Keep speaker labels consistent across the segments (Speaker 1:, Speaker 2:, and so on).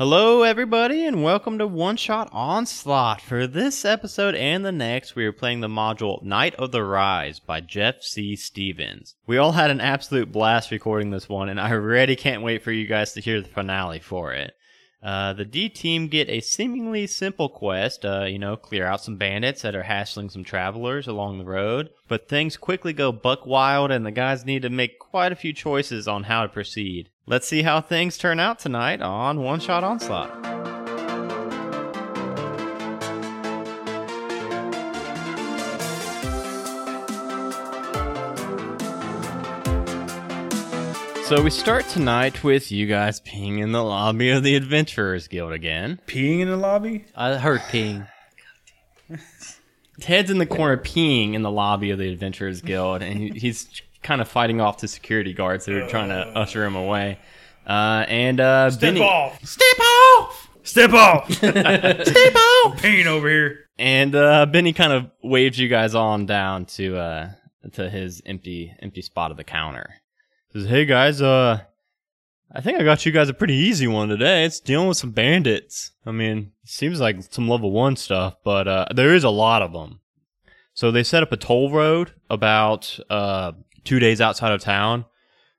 Speaker 1: Hello, everybody, and welcome to One Shot Onslaught. For this episode and the next, we are playing the module Night of the Rise by Jeff C. Stevens. We all had an absolute blast recording this one, and I really can't wait for you guys to hear the finale for it. Uh, the D team get a seemingly simple quest, uh, you know, clear out some bandits that are hassling some travelers along the road. But things quickly go buck wild, and the guys need to make quite a few choices on how to proceed. Let's see how things turn out tonight on One Shot Onslaught. So we start tonight with you guys being in the lobby of the Adventurers Guild again.
Speaker 2: peeing in the lobby?
Speaker 1: I heard peeing. Ted's in the corner peeing in the lobby of the Adventurers Guild, and he- he's kind of fighting off the security guards that are trying to usher him away. Uh, and uh, Benny,
Speaker 2: off!
Speaker 1: step off,
Speaker 2: Step off!
Speaker 1: step off.
Speaker 2: peeing over here.
Speaker 1: And uh, Benny kind of waves you guys on down to uh, to his empty empty spot of the counter. Says, "Hey guys, uh, I think I got you guys a pretty easy one today. It's dealing with some bandits. I mean, seems like some level one stuff, but uh, there is a lot of them. So they set up a toll road about uh, two days outside of town,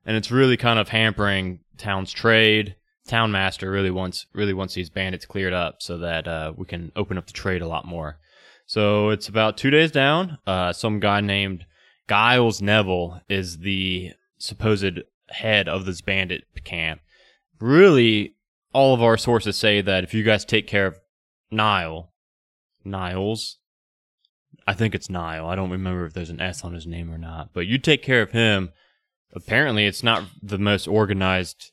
Speaker 1: and it's really kind of hampering town's trade. Town master really wants really wants these bandits cleared up so that uh, we can open up the trade a lot more. So it's about two days down. Uh, some guy named Giles Neville is the supposed head of this bandit camp. Really, all of our sources say that if you guys take care of Nile, Niles, I think it's Nile. I don't remember if there's an S on his name or not. But you take care of him. Apparently, it's not the most organized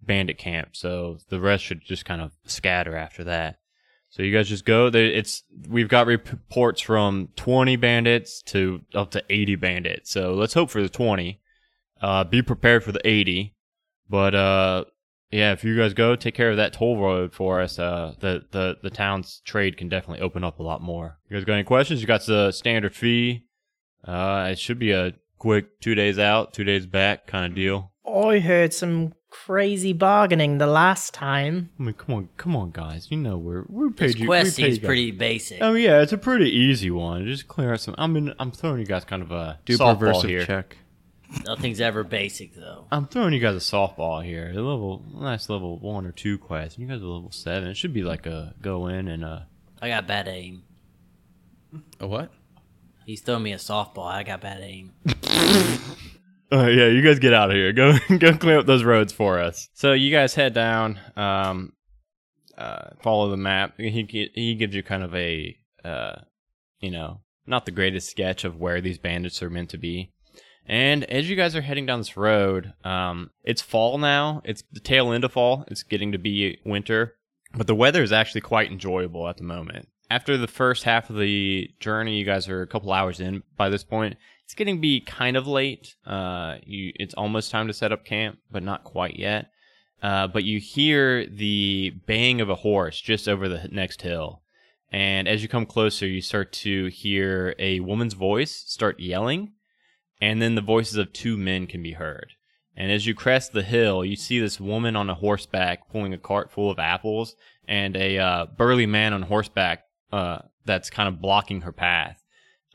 Speaker 1: bandit camp, so the rest should just kind of scatter after that. So you guys just go. There, it's we've got reports from 20 bandits to up to 80 bandits. So let's hope for the 20. Uh, be prepared for the 80. But uh, yeah, if you guys go, take care of that toll road for us. Uh, the the the town's trade can definitely open up a lot more. You guys got any questions? You got the standard fee. Uh, it should be a quick two days out, two days back kind of deal.
Speaker 3: I heard some crazy bargaining the last time.
Speaker 1: I mean, come on, come on, guys. You know we're we're paid.
Speaker 4: This
Speaker 1: you- we
Speaker 4: quest
Speaker 1: paid
Speaker 4: seems
Speaker 1: you guys.
Speaker 4: pretty basic.
Speaker 3: Um,
Speaker 1: Oh yeah, it's a pretty easy one. Just clear out some. I mean, I'm throwing you guys kind of a
Speaker 5: Do
Speaker 1: softball
Speaker 5: perversive
Speaker 1: here.
Speaker 5: check.
Speaker 4: Nothing's ever basic though.
Speaker 1: I'm throwing you guys a softball here. A level, nice level one or two quest. You guys are level seven. It should be like a go in and uh
Speaker 4: I got bad aim.
Speaker 5: A what?
Speaker 4: He's throwing me a softball. I got bad aim.
Speaker 1: Uh, yeah, you guys get out of here. Go go clear up those roads for us. So you guys head down, um, uh, follow the map. He gi- he gives you kind of a uh, you know, not the greatest sketch of where these bandits are meant to be. And as you guys are heading down this road, um, it's fall now. It's the tail end of fall. It's getting to be winter, but the weather is actually quite enjoyable at the moment. After the first half of the journey, you guys are a couple hours in by this point. It's getting to be kind of late. Uh, you, it's almost time to set up camp, but not quite yet. Uh, but you hear the baying of a horse just over the next hill. And as you come closer, you start to hear a woman's voice start yelling, and then the voices of two men can be heard. And as you crest the hill, you see this woman on a horseback pulling a cart full of apples, and a uh, burly man on horseback uh, that's kind of blocking her path,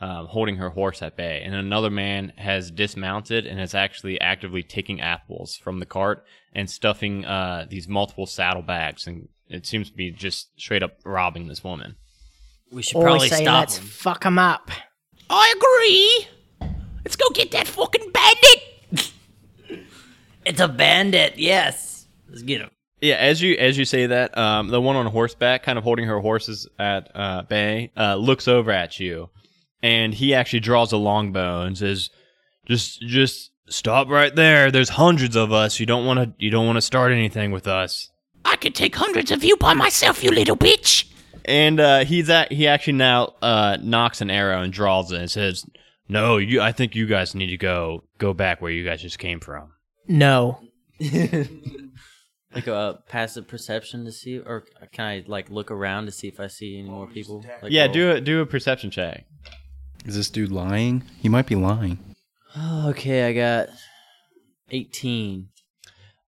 Speaker 1: um, holding her horse at bay. And another man has dismounted and is actually actively taking apples from the cart and stuffing uh, these multiple saddlebags. And it seems to be just straight up robbing this woman.
Speaker 4: We should
Speaker 3: Or
Speaker 4: probably
Speaker 3: say,
Speaker 4: stop
Speaker 3: let's
Speaker 4: him.
Speaker 3: fuck him up.
Speaker 6: I agree. Let's go get that fucking bandit.
Speaker 4: it's a bandit. Yes. Let's get him.
Speaker 1: Yeah, as you as you say that, um, the one on horseback, kind of holding her horses at uh, bay, uh, looks over at you, and he actually draws a longbow and says, "Just just stop right there. There's hundreds of us. You don't want to you don't want to start anything with us."
Speaker 6: I could take hundreds of you by myself, you little bitch.
Speaker 1: And uh, he's at he actually now uh, knocks an arrow and draws it and says, "No, you. I think you guys need to go go back where you guys just came from."
Speaker 3: No.
Speaker 4: Like a uh, passive perception to see, or can I like look around to see if I see any more people? Like,
Speaker 1: yeah,
Speaker 4: roll-
Speaker 1: do a do a perception check.
Speaker 5: Is this dude lying? He might be lying.
Speaker 4: Oh, okay, I got eighteen.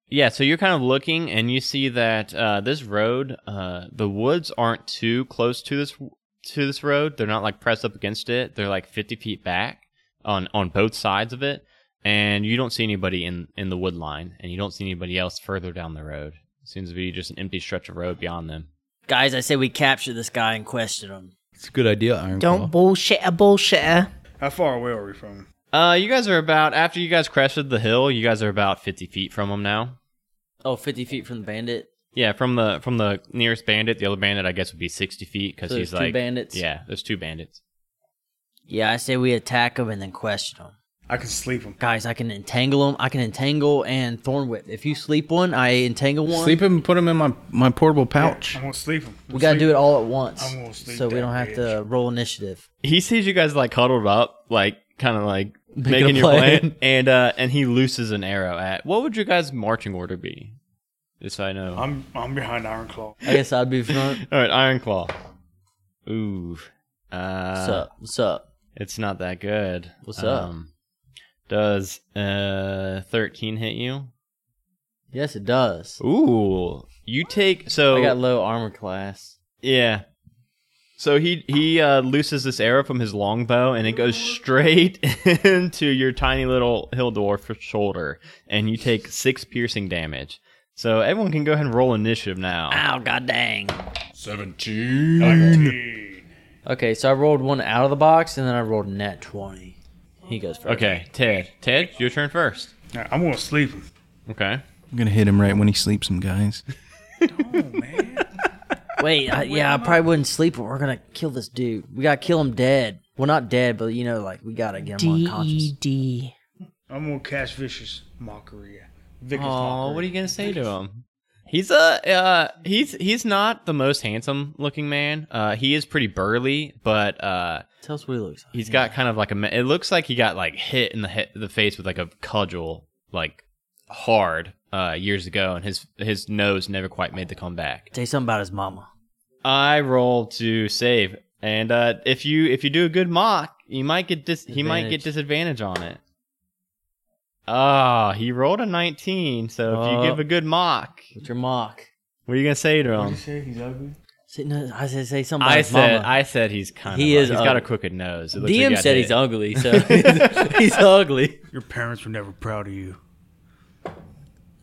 Speaker 1: Yeah, so you're kind of looking and you see that uh, this road, uh, the woods aren't too close to this to this road. They're not like pressed up against it. They're like 50 feet back on on both sides of it, and you don't see anybody in in the wood line, and you don't see anybody else further down the road. seems to be just an empty stretch of road beyond them.
Speaker 4: Guys, I say we capture this guy and question him.
Speaker 5: It's a good idea, Iron
Speaker 3: Don't
Speaker 5: Claw.
Speaker 3: bullshit a bullshitter.
Speaker 2: How far away are we from him?
Speaker 1: Uh, you guys are about after you guys crested the hill. You guys are about 50 feet from them now.
Speaker 4: Oh, 50 feet from the bandit.
Speaker 1: Yeah, from the from the nearest bandit, the other bandit I guess would be 60 feet because
Speaker 4: So
Speaker 1: he's
Speaker 4: there's two
Speaker 1: like
Speaker 4: bandits?
Speaker 1: Yeah, there's two bandits.
Speaker 4: Yeah, I say we attack him and then question him.
Speaker 2: I can sleep him.
Speaker 4: Guys, I can entangle him. I can entangle and thorn whip. If you sleep one, I entangle one.
Speaker 5: Sleep him and put him in my, my portable pouch.
Speaker 2: I'm gonna sleep him.
Speaker 4: We gotta do it all at once,
Speaker 2: I'm gonna sleep
Speaker 4: so we
Speaker 2: that
Speaker 4: don't have to roll initiative.
Speaker 1: he sees you guys like cuddled up, like kind of like
Speaker 4: Making
Speaker 1: making
Speaker 4: a
Speaker 1: your
Speaker 4: plan.
Speaker 1: plan, and uh and he looses an arrow at. What would your guys' marching order be? Just so I know.
Speaker 2: I'm I'm behind Iron Claw.
Speaker 4: I guess I'd be front.
Speaker 1: All right, Iron Claw. Ooh, uh,
Speaker 4: What's up? What's up?
Speaker 1: it's not that good. Um,
Speaker 4: What's up?
Speaker 1: Does uh thirteen hit you?
Speaker 4: Yes, it does.
Speaker 1: Ooh, you take so
Speaker 4: I got low armor class.
Speaker 1: Yeah. So he he uh, looses this arrow from his longbow, and it goes straight into your tiny little hill dwarf shoulder, and you take six piercing damage. So everyone can go ahead and roll initiative now.
Speaker 4: Ow, god dang.
Speaker 2: Nineteen.
Speaker 4: Okay, so I rolled one out of the box, and then I rolled a net twenty. He goes first.
Speaker 1: Okay, Ted. Ted, your turn first.
Speaker 2: Now, I'm gonna sleep him.
Speaker 1: Okay.
Speaker 5: I'm gonna hit him right when he sleeps him, guys.
Speaker 4: Wait, I, yeah, I probably wouldn't sleep, but we're gonna kill this dude. We gotta kill him dead. Well, not dead, but you know, like we gotta get him
Speaker 3: D
Speaker 4: unconscious.
Speaker 3: E D.
Speaker 2: I'm gonna catch Vicious mockery. Vicious
Speaker 1: Oh,
Speaker 2: mockery.
Speaker 1: what are you gonna say to him? He's a uh, he's he's not the most handsome looking man. Uh, he is pretty burly, but uh,
Speaker 4: Tell us what he looks like.
Speaker 1: He's got kind of like a. ma- It looks like he got like hit in the he- the face with like a cudgel, like hard uh, years ago, and his his nose never quite made the comeback.
Speaker 4: Say something about his mama.
Speaker 1: I roll to save, and uh, if you if you do a good mock, you might get dis- he might get
Speaker 4: Advantage.
Speaker 1: disadvantage on it. Ah, he rolled a nineteen. So if
Speaker 4: Oh.
Speaker 1: you give a good mock,
Speaker 4: What's your mock?
Speaker 1: what are you gonna say to
Speaker 2: You
Speaker 1: him?
Speaker 2: say he's ugly.
Speaker 4: Say, no, I said say something about
Speaker 1: I
Speaker 4: his
Speaker 1: said
Speaker 4: mama.
Speaker 1: I said he's kind of
Speaker 4: He
Speaker 1: he
Speaker 4: is
Speaker 1: has got a
Speaker 4: ugly.
Speaker 1: crooked nose. It looks like he
Speaker 4: DM
Speaker 1: got
Speaker 4: said he's
Speaker 1: hit.
Speaker 4: ugly, so he's ugly.
Speaker 2: Your parents were never proud of you.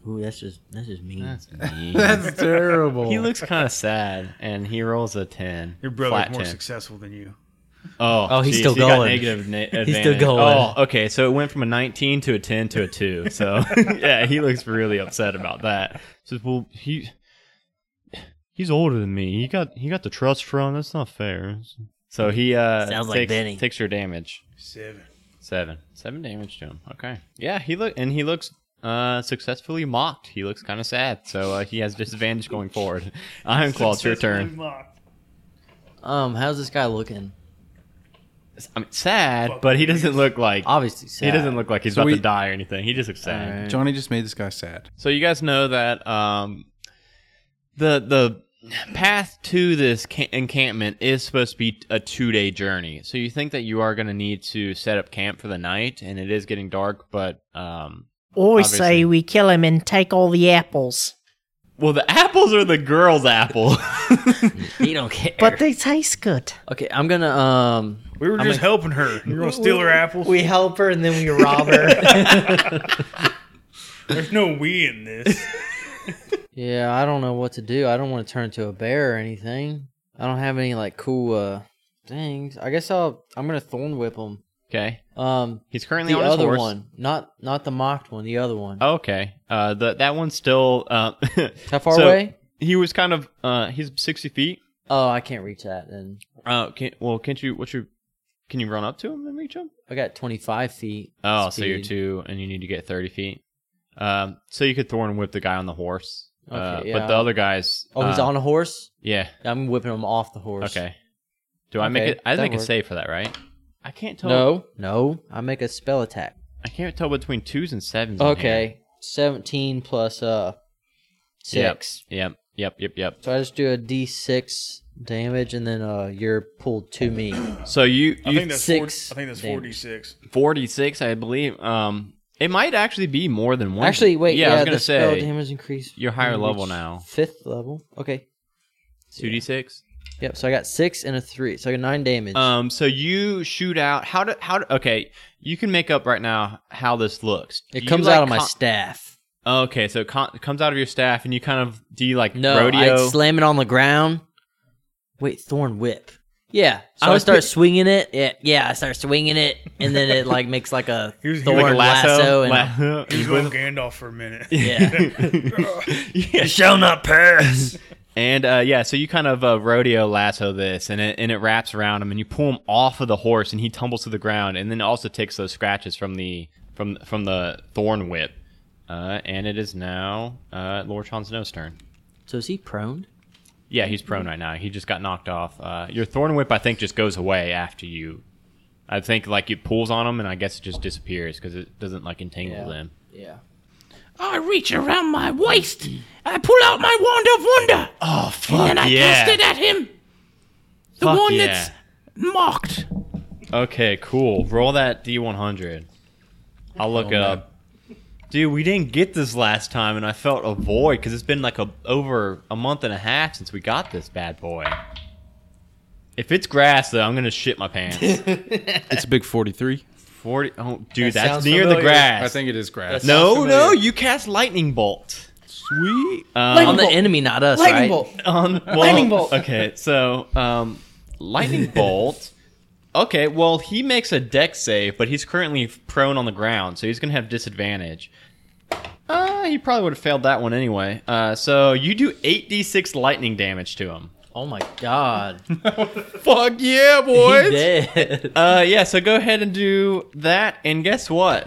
Speaker 4: Ooh, that's just that's just mean.
Speaker 1: That's mean.
Speaker 5: That's terrible.
Speaker 1: He looks kind of sad, and he rolls a ten.
Speaker 2: Your brother's
Speaker 1: Flat
Speaker 2: more
Speaker 1: 10.
Speaker 2: successful than you.
Speaker 1: Oh,
Speaker 4: Oh, he's
Speaker 1: geez,
Speaker 4: still
Speaker 1: he got
Speaker 4: going.
Speaker 1: negative na-
Speaker 4: He's still
Speaker 1: advantage.
Speaker 4: going.
Speaker 1: Oh, okay. So it went from a nineteen to a ten to a two. So yeah, he looks really upset about that. Says, "Well, he he's older than me. He got he got the trust from. That's not fair." So he uh
Speaker 4: Sounds like
Speaker 1: takes,
Speaker 4: Benny.
Speaker 1: takes your damage.
Speaker 2: Seven.
Speaker 1: Seven. Seven damage to him. Okay. Yeah, he look and he looks uh successfully mocked. He looks kind of sad, so uh, he has disadvantage going forward. Iron Claw, it's your turn.
Speaker 2: Mocked.
Speaker 4: Um, how's this guy looking?
Speaker 1: I mean, sad, but he doesn't look like
Speaker 4: Obviously, sad.
Speaker 1: he doesn't look like he's
Speaker 5: So
Speaker 1: about
Speaker 5: we-
Speaker 1: to die or anything. He just looks sad.
Speaker 4: Alright.
Speaker 5: Johnny just made this guy sad.
Speaker 1: So you guys know that um, the the path to this ca- encampment is supposed to be a two day journey. So you think that you are going to need to set up camp for the night, and it is getting dark. But um,
Speaker 3: Or
Speaker 1: Obviously.
Speaker 3: say we kill him and take all the apples.
Speaker 1: well, the apples are the girl's apple.
Speaker 4: He don't care.
Speaker 3: But they taste good.
Speaker 4: okay, I'm gonna um.
Speaker 2: We were just helping her. You're gonna steal her apples.
Speaker 3: We help her and then we rob her.
Speaker 2: There's no we in this.
Speaker 4: Yeah, I don't know what to do. I don't want to turn into a bear or anything. I don't have any like cool uh things. I guess I'll. I'm gonna thorn whip him.
Speaker 1: okay,
Speaker 4: Um,
Speaker 1: he's currently
Speaker 4: the
Speaker 1: on his
Speaker 4: other
Speaker 1: horse.
Speaker 4: one, not not the mocked one. The other one.
Speaker 1: Okay, uh, the, that one's still. Uh,
Speaker 4: How far
Speaker 1: so
Speaker 4: away?
Speaker 1: He was kind of. Uh, he's sixty feet.
Speaker 4: Oh, I can't reach that. Then
Speaker 1: Uh, can, well, can't you? What's your? Can you run up to him and reach him?
Speaker 4: I got 25 feet.
Speaker 1: Oh, so you're
Speaker 4: speed.
Speaker 1: two, and you need to get thirty feet. Um, so you could thorn whip the guy on the horse. uh,
Speaker 4: Okay,
Speaker 1: But
Speaker 4: yeah.
Speaker 1: the other guys.
Speaker 4: Oh, he's
Speaker 1: uh,
Speaker 4: on a horse.
Speaker 1: Yeah.
Speaker 4: I'm whipping him off the horse.
Speaker 1: Okay. Do I make
Speaker 4: Okay,
Speaker 1: it? I
Speaker 4: that
Speaker 1: make a
Speaker 4: works.
Speaker 1: save for that, right? I can't tell.
Speaker 4: No, no. I make a spell attack.
Speaker 1: I can't tell between twos and sevens. in here.
Speaker 4: Okay, 17 plus uh six.
Speaker 1: Yep. Yep. Yep. Yep.
Speaker 4: So I just do a d6 damage, and then uh you're pulled to me.
Speaker 1: So you,
Speaker 2: I
Speaker 1: you
Speaker 2: think that's
Speaker 4: six
Speaker 2: 40, I think that's
Speaker 4: damage.
Speaker 2: forty six.
Speaker 1: 46 i believe um It might actually be more than one.
Speaker 4: Actually, wait.
Speaker 1: Yeah,
Speaker 4: Yeah,
Speaker 1: I was
Speaker 4: the
Speaker 1: gonna
Speaker 4: spell
Speaker 1: say
Speaker 4: damage increase.
Speaker 1: you're higher
Speaker 4: when you
Speaker 1: level
Speaker 4: reach
Speaker 1: now.
Speaker 4: Fifth level. Okay.
Speaker 1: two d six.
Speaker 4: Yep. So I got six and a three. So I got nine damage.
Speaker 1: Um, so you shoot out. How do how? Do, okay, you can make up right now how this looks.
Speaker 4: it
Speaker 1: You,
Speaker 4: comes
Speaker 1: like,
Speaker 4: out of my
Speaker 1: con-
Speaker 4: staff.
Speaker 1: Okay, so it con- it comes out of your staff, and you kind of do you like
Speaker 4: No,
Speaker 1: rodeo?
Speaker 4: I slam it on the ground. Wait, thorn whip. Yeah. So
Speaker 1: I
Speaker 4: I,
Speaker 1: was
Speaker 4: start
Speaker 1: pi-
Speaker 4: swinging it. Yeah, yeah. I start swinging it, and then it like makes like a
Speaker 2: Here's-
Speaker 4: thorn
Speaker 1: like a lasso.
Speaker 4: and
Speaker 1: La-
Speaker 2: He's going Gandalf for a minute.
Speaker 4: yeah.
Speaker 1: You shall not pass. and uh, yeah, so you kind of uh, rodeo lasso this, and it and it wraps around him, and you pull him off of the horse, and he tumbles to the ground, and then also takes those scratches from the from from the thorn whip. Uh, and it is now uh, Lord Sean Snow's turn.
Speaker 4: so is he prone?
Speaker 1: Yeah, he's prone right now. He just got knocked off. Uh, your thorn whip, I think, just goes away after you. I think like it pulls on him, and I guess it just disappears because it doesn't like entangle
Speaker 4: Yeah.
Speaker 1: them.
Speaker 4: Yeah.
Speaker 6: I reach around my waist. I pull out my wand of wonder.
Speaker 1: Oh
Speaker 6: and
Speaker 1: fuck
Speaker 6: I cast it at him. The
Speaker 1: Fuck
Speaker 6: one
Speaker 1: yeah.
Speaker 6: that's marked.
Speaker 1: Okay, cool. Roll that D100. I'll look it up. Dude, we didn't get this last time, and I felt a void because it's been like a over a month and a half since we got this bad boy. If it's grass, though, I'm gonna shit my pants.
Speaker 5: It's a big 43.
Speaker 1: Forty. Oh, dude,
Speaker 4: That
Speaker 1: that's
Speaker 4: sounds
Speaker 1: near the
Speaker 4: familiar.
Speaker 1: grass.
Speaker 5: I think it is grass.
Speaker 4: That's-
Speaker 1: no,
Speaker 4: sounds
Speaker 1: no,
Speaker 4: familiar.
Speaker 1: you cast lightning bolt.
Speaker 5: Sweet.
Speaker 1: Um,
Speaker 4: on the enemy, not us,
Speaker 3: Lightning
Speaker 4: right?
Speaker 3: bolt.
Speaker 1: on well,
Speaker 3: Lightning bolt.
Speaker 1: Okay, so um, lightning bolt. Okay, well he makes a deck save, but he's currently prone on the ground, so he's gonna have disadvantage. Uh, he probably would have failed that one anyway. Uh, so you do eight d six lightning damage to him.
Speaker 4: Oh my god. He
Speaker 1: Fuck yeah, boys!
Speaker 4: dead.
Speaker 1: Uh, yeah. So go ahead and do that, and guess what?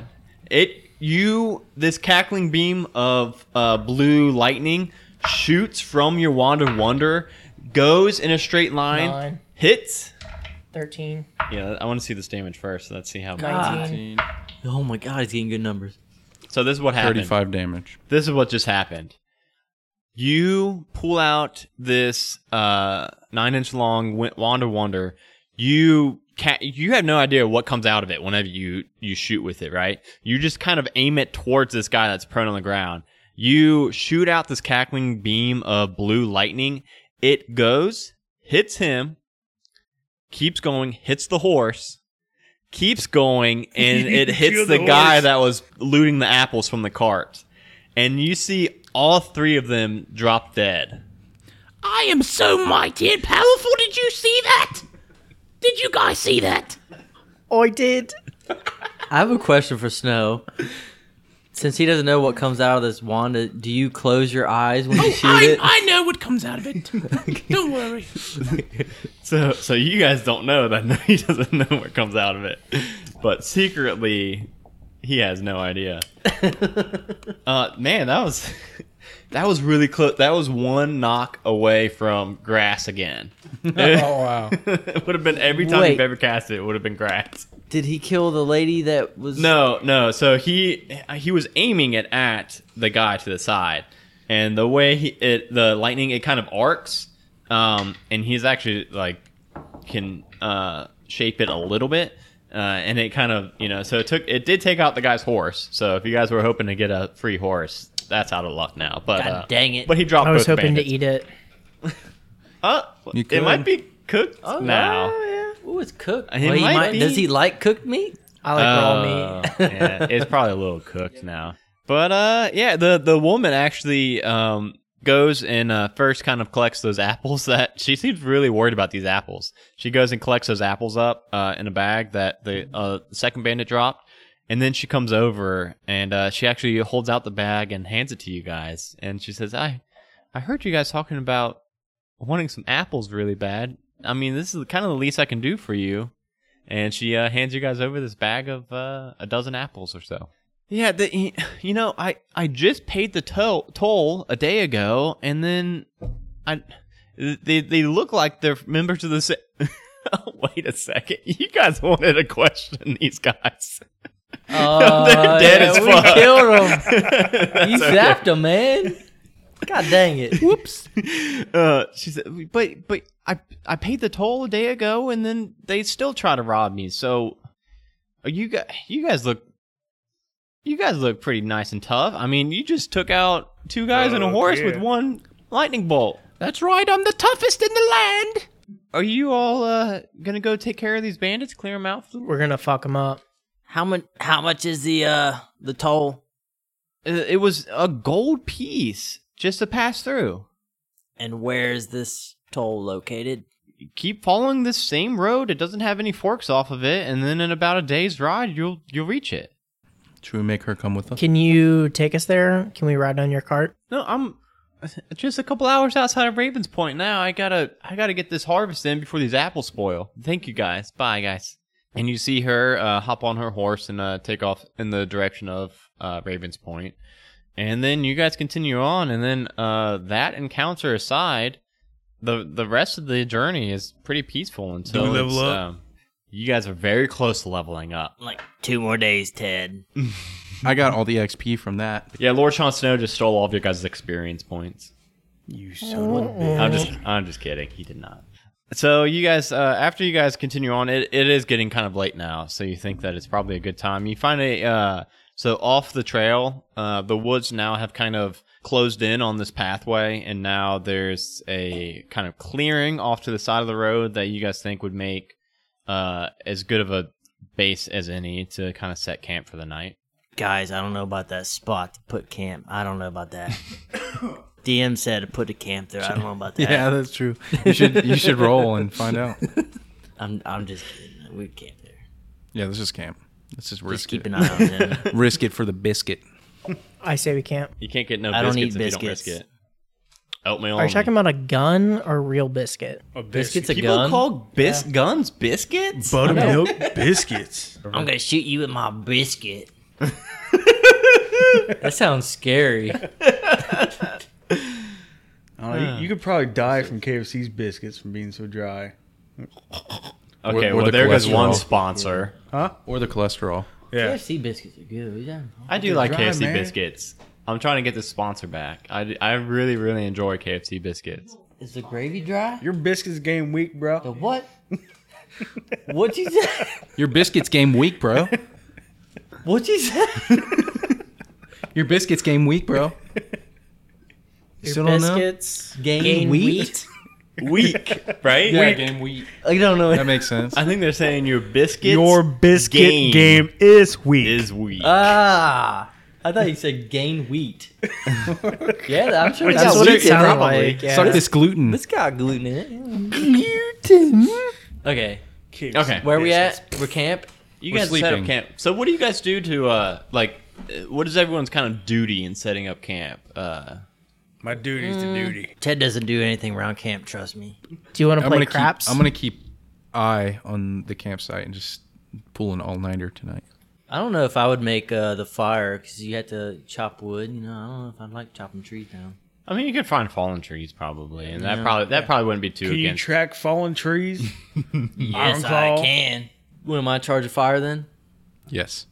Speaker 1: It you this cackling beam of uh, blue lightning shoots from your wand of wonder, goes in a straight line,
Speaker 3: Nine.
Speaker 1: hits.
Speaker 3: 13,
Speaker 1: Yeah, I want to see this damage first. Let's see how.
Speaker 3: 19.
Speaker 4: Oh my god, he's getting good numbers.
Speaker 1: So this is what happened.
Speaker 5: 35 damage.
Speaker 1: This is what just happened. You pull out this uh, nine-inch long wi- wand of wonder. You ca You have no idea what comes out of it whenever you you shoot with it, right? You just kind of aim it towards this guy that's prone on the ground. You shoot out this cackling beam of blue lightning. It goes, hits him, keeps going, hits the horse, keeps going, and it hits
Speaker 2: Killed
Speaker 1: the
Speaker 2: the
Speaker 1: guy
Speaker 2: horse.
Speaker 1: that was looting the apples from the cart. And you see all three of them drop dead.
Speaker 6: I am so mighty and powerful. Did you see that? Did you guys see that?
Speaker 3: I did.
Speaker 4: I have a question for Snow. Since he doesn't know what comes out of this wand, uh, do you close your eyes when you shoot
Speaker 6: I,
Speaker 4: it?
Speaker 6: I know what comes out of it. Don't worry.
Speaker 1: So, so you guys don't know that he doesn't know what comes out of it, but secretly, he has no idea. uh, man, that was that was really close. That was one knock away from grass again.
Speaker 5: Oh, wow.
Speaker 1: it would have been every time
Speaker 4: Wait.
Speaker 1: you've ever cast it, it would have been grass.
Speaker 4: Did he kill the lady that was
Speaker 1: No, no. So he he was aiming it at the guy to the side, and the way he it the lightning it kind of arcs, um, and he's actually like can uh shape it a little bit, uh, and it kind of you know so it took it did take out the guy's horse. So if you guys were hoping to get a free horse, that's out of luck now. But
Speaker 4: God
Speaker 1: uh,
Speaker 4: dang it.
Speaker 1: But he dropped.
Speaker 3: I was
Speaker 1: both
Speaker 3: hoping to
Speaker 1: bandits.
Speaker 3: eat it.
Speaker 1: Uh,
Speaker 5: You
Speaker 1: it
Speaker 5: could.
Speaker 1: might be cooked
Speaker 4: Oh,
Speaker 1: now.
Speaker 4: Oh, yeah. Ooh, it's cooked.
Speaker 1: He
Speaker 4: Well, he
Speaker 1: might
Speaker 4: might-
Speaker 1: be-
Speaker 4: Does he like cooked meat?
Speaker 3: I like
Speaker 5: Uh,
Speaker 3: raw
Speaker 1: Oh,
Speaker 3: meat.
Speaker 1: yeah, it's probably a little cooked now. But uh, yeah, the the woman actually um goes and uh, first kind of collects those apples that she seems really worried about these apples. She goes and collects those apples up uh, in a bag that the uh, second bandit dropped, and then she comes over and uh, she actually holds out the bag and hands it to you guys, and she says, "I, I heard you guys talking about wanting some apples really bad. I mean, this is kind of the least I can do for you." and she uh, hands you guys over this bag of uh, a dozen apples or so. Yeah, the, you know, I, I just paid the toll toll a day ago, and then I they they look like they're members of the. Sa- Wait a second, you guys wanted to question these guys.
Speaker 4: Oh,
Speaker 1: They're dead
Speaker 4: yeah,
Speaker 1: as
Speaker 4: we
Speaker 1: fuck.
Speaker 4: killed him. You
Speaker 1: That's okay.
Speaker 4: zapped him, man. God dang it.
Speaker 1: Whoops. Uh, she said, but but I I paid the toll a day ago, and uh, then they still try to rob me. So, are you guys you guys look You guys look pretty nice and tough. I mean, you just took out two guys and a
Speaker 2: Oh,
Speaker 1: horse
Speaker 2: yeah.
Speaker 1: with one lightning bolt.
Speaker 6: That's right, I'm the toughest in the land.
Speaker 1: Are you all uh, gonna go take care of these bandits, clear them out?
Speaker 3: We're gonna fuck him up.
Speaker 6: How much? How much is the uh the toll?
Speaker 1: Uh, It was a gold piece just to pass through.
Speaker 6: And where is this toll located?
Speaker 1: Keep following this same road; it doesn't have any forks off of it, and then in about a day's ride, you'll you'll reach it.
Speaker 5: Should we make her come with us?
Speaker 3: Can you take us there? Can we ride on your cart?
Speaker 1: No, I'm just a couple hours outside of Ravens Point now. I gotta I gotta get this harvest in before these apples spoil. Thank you guys. Bye guys. And you see her uh, hop on her horse and uh, take off in the direction of uh, Ravens Point. And then you guys continue on, and then uh, that encounter aside, the the rest of the journey is pretty peaceful until
Speaker 5: we level
Speaker 1: it's,
Speaker 5: up?
Speaker 1: um, you guys are very close to leveling up.
Speaker 6: Like two more days, Ted.
Speaker 5: I got all the XP from that.
Speaker 1: Yeah, Lord Sean Snow just stole all of your guys' experience points.
Speaker 5: You son of a bitch.
Speaker 1: I'm just I'm just kidding. He did not. So you guys, uh, after you guys continue on, it, it is getting kind of late now. So you think that it's probably a good time. You find a uh, so off the trail, uh, the woods now have kind of closed in on this pathway, and now there's a kind of clearing off to the side of the road that you guys think would make uh, as good of a base as any to kind of set camp for the night.
Speaker 6: Guys, I don't know about that spot to put camp. I don't know about that. DM said to put a camp there. I don't know about that.
Speaker 5: Yeah, that's true. You should you should roll and find out.
Speaker 6: I'm I'm just kidding. We camp there.
Speaker 5: Yeah, this is camp. This is
Speaker 6: Just
Speaker 5: risk
Speaker 6: keep
Speaker 5: it.
Speaker 6: an eye on them.
Speaker 5: Risk it for the biscuit.
Speaker 3: I say we can't.
Speaker 1: You can't get no
Speaker 6: I
Speaker 1: biscuits
Speaker 6: don't eat
Speaker 1: if
Speaker 6: biscuits.
Speaker 1: you don't risk it. Oatmeal.
Speaker 3: Are you
Speaker 1: only.
Speaker 3: talking about a gun or real biscuit?
Speaker 2: A biscuit.
Speaker 4: Biscuit's a
Speaker 1: People
Speaker 4: gun.
Speaker 1: call bis- guns biscuits.
Speaker 2: Buttermilk biscuits.
Speaker 6: I'm gonna shoot you with my biscuit.
Speaker 4: that sounds scary.
Speaker 2: I
Speaker 4: Ah.
Speaker 2: don't know, Oh, you, you could probably die from KFC's biscuits from being so dry.
Speaker 1: Okay,
Speaker 5: Or- or
Speaker 1: well,
Speaker 5: the
Speaker 1: there goes
Speaker 5: cholesterol.
Speaker 1: one sponsor.
Speaker 5: Or the cholesterol.
Speaker 2: Yeah.
Speaker 4: KFC biscuits are good. Yeah.
Speaker 1: I do like
Speaker 2: dry,
Speaker 1: KFC
Speaker 2: man.
Speaker 1: biscuits. I'm trying to get this sponsor back. I, d- I really, really enjoy KFC biscuits.
Speaker 4: Is the gravy dry?
Speaker 2: Your biscuits game weak,
Speaker 4: The
Speaker 2: bro.
Speaker 4: what? Oh. What'd you say?
Speaker 5: Your biscuits game week, bro.
Speaker 4: What'd you say?
Speaker 5: Your biscuits game week, bro. You still don't know?
Speaker 3: biscuits.
Speaker 4: Gain,
Speaker 3: Gain
Speaker 4: wheat?
Speaker 3: wheat?
Speaker 1: Weak, right?
Speaker 5: Yeah, game week.
Speaker 4: I don't know.
Speaker 5: That makes sense.
Speaker 1: I think they're saying your biscuits. game,
Speaker 2: is weak.
Speaker 1: is weak.
Speaker 4: Ah, I thought you said gain wheat. yeah, I'm sure it's
Speaker 3: That's
Speaker 4: got
Speaker 3: what
Speaker 4: wheat.
Speaker 3: it sounded
Speaker 1: probably.
Speaker 3: like. Yeah.
Speaker 5: Suck this gluten.
Speaker 4: It's got gluten in it.
Speaker 3: Gluten.
Speaker 4: Okay,
Speaker 2: KFC
Speaker 1: okay,
Speaker 4: where are we
Speaker 2: biscuits.
Speaker 4: at? We're camp.
Speaker 1: you
Speaker 5: we're
Speaker 1: guys set up
Speaker 5: sleeping.
Speaker 1: camp. So, what do you guys do to uh, like? uh, What is everyone's kind of duty in setting up camp? Uh,
Speaker 2: My duty's to
Speaker 4: Mm.
Speaker 2: duty.
Speaker 6: Ted doesn't do anything around camp. Trust me.
Speaker 3: Do you want to
Speaker 5: I'm
Speaker 3: play
Speaker 5: gonna
Speaker 3: craps?
Speaker 5: keep I'm gonna keep eye on the campsite and just pull an all nighter tonight.
Speaker 4: I don't know if I would make uh, the fire because you had to chop wood. You know, I don't know if I'd like chopping trees down.
Speaker 1: I mean, you could find fallen trees probably, and that probably that probably wouldn't be too
Speaker 2: Can you
Speaker 1: against.
Speaker 2: track fallen trees?
Speaker 6: Yes,
Speaker 2: Ironclaw.
Speaker 6: I can.
Speaker 4: What am I charge a fire then?
Speaker 5: Yes.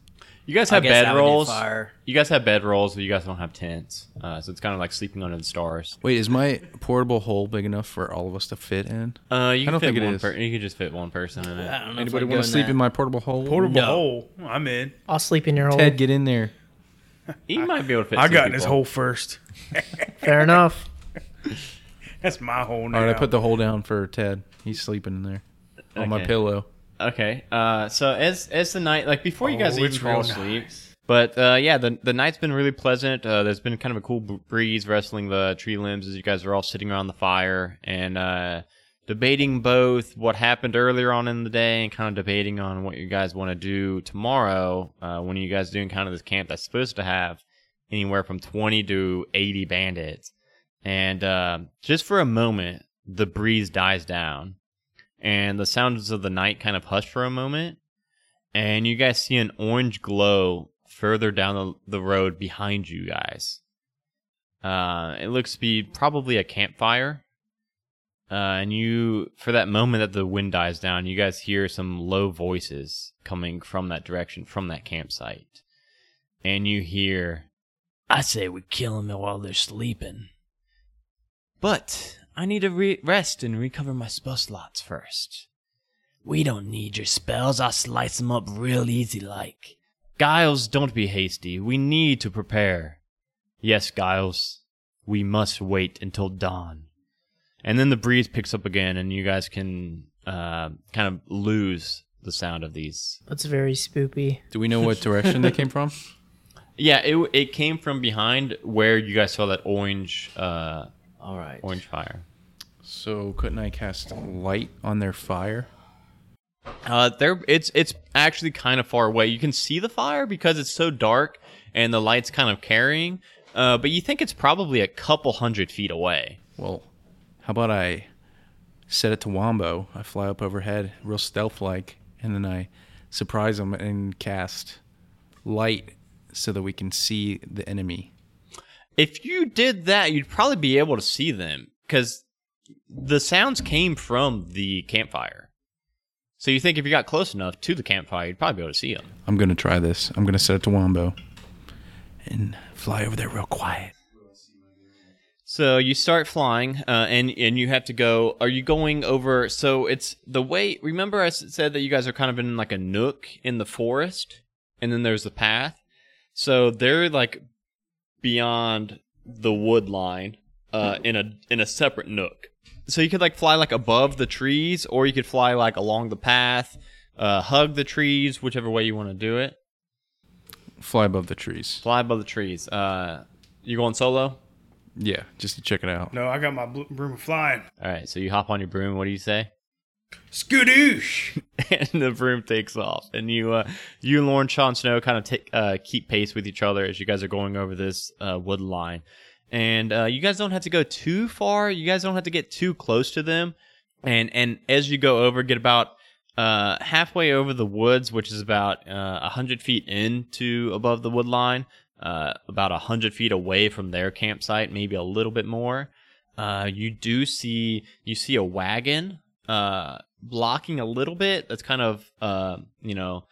Speaker 1: you guys
Speaker 6: I
Speaker 1: have
Speaker 6: guess I would
Speaker 1: bed
Speaker 6: do
Speaker 1: rolls.
Speaker 6: Fire.
Speaker 1: You guys have bed rolls, but you guys don't have tents, uh, so it's kind of like sleeping under the stars.
Speaker 5: Wait, is my portable hole big enough for all of us to fit in?
Speaker 1: Uh, you
Speaker 5: I
Speaker 1: can
Speaker 5: don't
Speaker 1: fit
Speaker 5: think it
Speaker 1: one
Speaker 5: is.
Speaker 1: per- you could just fit one person in
Speaker 6: I
Speaker 1: it.
Speaker 6: don't know
Speaker 5: Anybody
Speaker 6: want to
Speaker 5: sleep in my portable hole?
Speaker 2: Portable
Speaker 6: No.
Speaker 2: hole. I'm in.
Speaker 3: I'll sleep in your hole.
Speaker 5: Ted, get in there.
Speaker 1: You might be able to fit.
Speaker 2: I
Speaker 1: two
Speaker 2: got in this
Speaker 1: people.
Speaker 2: hole first.
Speaker 3: Fair enough.
Speaker 2: That's my hole now.
Speaker 5: All right, I put the hole down for Ted. He's sleeping in there on my
Speaker 1: Okay.
Speaker 5: pillow.
Speaker 1: Okay. Uh, so as as the night, like before you guys
Speaker 2: Oh, it's
Speaker 1: even fall
Speaker 2: real
Speaker 1: asleep, but uh, yeah, the the night's been really pleasant. Uh, there's been kind of a cool b- breeze wrestling the tree limbs as you guys are all sitting around the fire and uh, debating both what happened earlier on in the day and kind of debating on what you guys want to do tomorrow uh, when you guys doing kind of this camp that's supposed to have anywhere from 20 to 80 bandits. And uh, just for a moment, the breeze dies down and the sounds of the night kind of hush for a moment. And you guys see an orange glow further down the, the road behind you guys. Uh, it looks to be probably a campfire. Uh, and you, for that moment that the wind dies down, you guys hear some low voices coming from that direction, from that campsite. And you hear, I say we kill them while they're sleeping. But I need to re- rest and recover my spell slots first.
Speaker 6: We don't need your spells. I'll slice them up real easy like.
Speaker 1: Giles, don't be hasty. We need to prepare. Yes, Giles, we must wait until dawn. And then the breeze picks up again, and you guys can uh, kind of lose the sound of these.
Speaker 3: That's very spoopy.
Speaker 5: Do we know what direction they came from?
Speaker 1: Yeah, it it came from behind where you guys saw that orange uh,
Speaker 6: All right.
Speaker 1: orange fire.
Speaker 5: So couldn't I cast light on their fire?
Speaker 1: Uh, there, it's it's actually kind of far away. You can see the fire because it's so dark and the light's kind of carrying. Uh, but you think it's probably a couple hundred feet away.
Speaker 5: Well, how about I set it to Wombo? I fly up overhead, real stealth like, and then I surprise them and cast light so that we can see the enemy.
Speaker 1: If you did that, you'd probably be able to see them because the sounds came from the campfire. So you think if you got close enough to the campfire, you'd probably be able to see them.
Speaker 5: I'm gonna try this. I'm gonna set it to Wombo and fly over there real quiet.
Speaker 1: So you start flying, uh, and and you have to go. Are you going over? So it's the way. Remember, I s- said that you guys are kind of in like a nook in the forest, and then there's the path. So they're like beyond the wood line, uh, in a in a separate nook. So you could like fly like above the trees, or you could fly like along the path, uh, hug the trees, whichever way you want to do it.
Speaker 5: Fly above the trees.
Speaker 1: Fly above the trees. Uh, you going solo?
Speaker 5: Yeah, just to check it out.
Speaker 2: No, I got my bl- broom of flying.
Speaker 1: All right. So you hop on your broom. What do you say?
Speaker 2: Skadoosh!
Speaker 1: and the broom takes off. And you, uh, you and Lauren Sean Snow kind of take, uh, keep pace with each other as you guys are going over this uh, wood line. And uh, you guys don't have to go too far. You guys don't have to get too close to them. And and as you go over, get about uh, halfway over the woods, which is about uh, hundred feet into above the wood line, uh, about hundred feet away from their campsite, maybe a little bit more. Uh, you do see you see a wagon uh, blocking a little bit. That's kind of uh, you know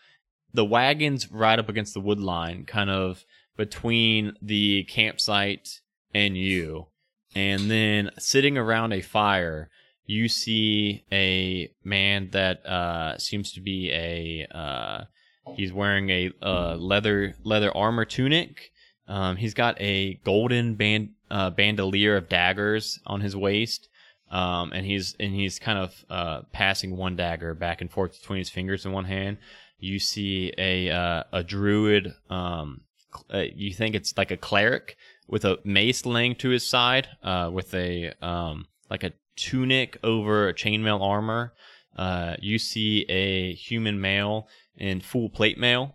Speaker 1: the wagons right up against the wood line, kind of between the campsite and you. And then sitting around a fire, you see a man that uh, seems to be a uh, he's wearing a uh, leather leather armor tunic. Um, he's got a golden band uh, bandolier of daggers on his waist, um, and he's and he's kind of uh, passing one dagger back and forth between his fingers in one hand. You see a uh, a druid. Um, cl- uh, you think it's like a cleric with a mace laying to his side, uh, with a um, like a tunic over a chainmail armor. Uh, you see a human male in full plate mail,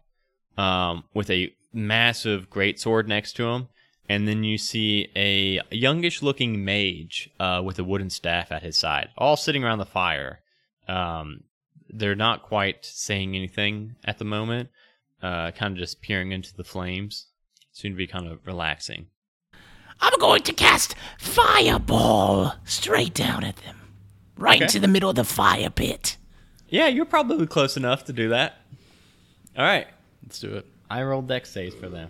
Speaker 1: um, with a massive greatsword next to him. And then you see a youngish looking mage uh, with a wooden staff at his side, all sitting around the fire. Um, they're not quite saying anything at the moment, uh, kind of just peering into the flames. Soon to be kind of relaxing.
Speaker 7: I'm going to cast Fireball straight down at them, right
Speaker 1: Okay.
Speaker 7: into the middle of the fire pit.
Speaker 1: Yeah, you're probably close enough to do that. All right.
Speaker 5: Let's do it.
Speaker 1: I rolled dex saves for them.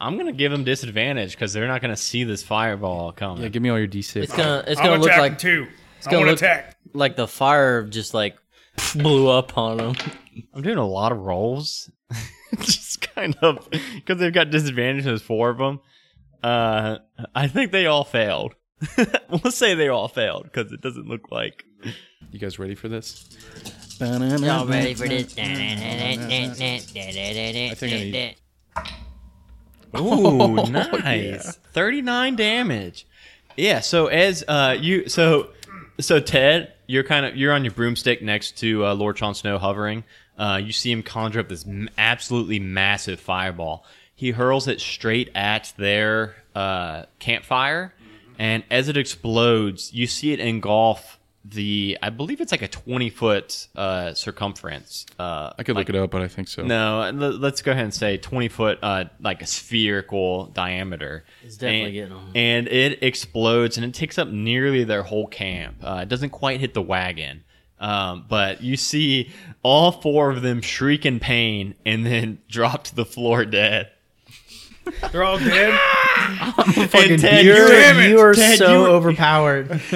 Speaker 1: I'm going to give them disadvantage because they're not going to see this fireball coming.
Speaker 5: Yeah, give me all your D6.
Speaker 4: It's gonna it's
Speaker 2: I'm
Speaker 4: gonna look
Speaker 2: attacking
Speaker 4: like
Speaker 2: too. I
Speaker 4: gonna
Speaker 2: want to
Speaker 4: look-
Speaker 2: attack.
Speaker 4: like the fire just like blew up on them.
Speaker 1: I'm doing a lot of rolls, just kind of because they've got disadvantages. There's four of them. Uh, I think they all failed. we'll say they all failed because it doesn't look like.
Speaker 5: You guys ready for this?
Speaker 6: Y'all ready for this?
Speaker 5: need-
Speaker 1: Ooh, Oh, nice. 39 damage. Yeah, so as uh you so so Ted, you're kind of you're on your broomstick next to uh, Lord Chon Snow hovering. Uh you see him conjure up this m- absolutely massive fireball. He hurls it straight at their uh campfire and as it explodes, you see it engulf the I believe it's like a 20 foot uh circumference. Uh
Speaker 5: I could look it up, but I think so.
Speaker 1: no, l- let's go ahead and say 20 foot, uh, like a spherical diameter.
Speaker 4: It's definitely
Speaker 1: and,
Speaker 4: getting on.
Speaker 1: And it explodes and it takes up nearly their whole camp. Uh, it doesn't quite hit the wagon. Um, but you see all four of them shriek in pain and then drop to the floor dead.
Speaker 2: They're all dead.
Speaker 1: fucking Ted,
Speaker 3: Ah!
Speaker 1: you
Speaker 3: You're,
Speaker 1: were-
Speaker 3: you are
Speaker 1: Ted,
Speaker 3: so
Speaker 1: you were-
Speaker 3: overpowered.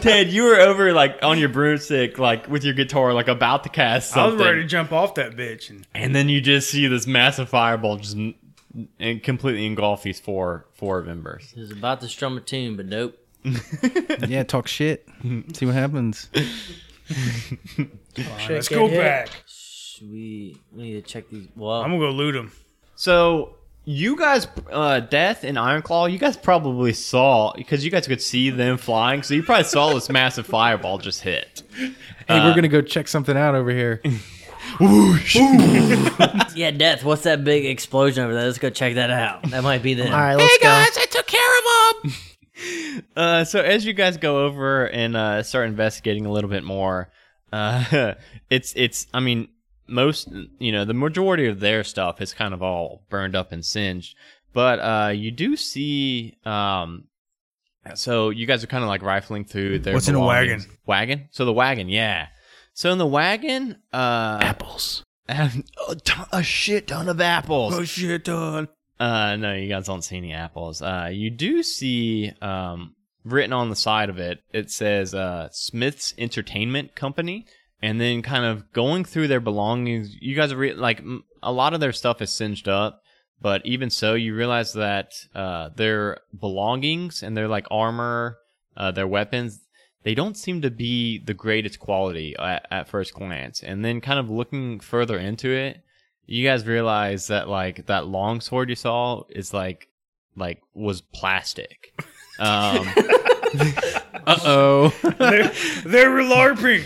Speaker 1: Ted, you were over like on your broomstick, like with your guitar, like about to cast
Speaker 2: I was
Speaker 1: something,
Speaker 2: ready to jump off that bitch. And
Speaker 1: and then you just see this massive fireball just n- and completely engulf these four four members.
Speaker 6: He was about to strum a tune, but nope.
Speaker 5: yeah, talk shit. See what happens.
Speaker 3: Shit,
Speaker 2: let's
Speaker 3: get
Speaker 2: go
Speaker 3: hit.
Speaker 2: back.
Speaker 6: We we need to check these. Well,
Speaker 2: I'm gonna go loot him.
Speaker 1: So you guys, uh, Death and Ironclaw, you guys probably saw because you guys could see them flying, so you probably saw this massive fireball just hit.
Speaker 5: Hey, we're gonna go check something out over here.
Speaker 6: yeah, death. What's that big explosion over there? Let's go check that out. That might be the.
Speaker 3: All right, let's
Speaker 7: Hey
Speaker 3: go.
Speaker 7: guys, I took care of him.
Speaker 1: Uh, so as you guys go over and uh, start investigating a little bit more, uh, it's it's I mean most you know the majority of their stuff is kind of all burned up and singed, but uh, you do see um, so you guys are kind of like rifling through their
Speaker 2: What's in a wagon?
Speaker 1: belongings. wagon so the wagon yeah so in the wagon uh
Speaker 7: Apples.
Speaker 1: a, ton, a shit ton of apples
Speaker 2: Oh shit, done.
Speaker 1: uh, no, you guys don't see any apples. Uh, you do see um, written on the side of it. It says uh, Smith's Entertainment Company, and then kind of going through their belongings. You guys are re- like m- a lot of their stuff is singed up, but even so, you realize that uh, their belongings and their like armor, uh, their weapons. They don't seem to be the greatest quality at, at first glance. And then, kind of looking further into it, you guys realize that like that long sword you saw is like like was plastic um
Speaker 5: Uh oh.
Speaker 2: They, they were larping.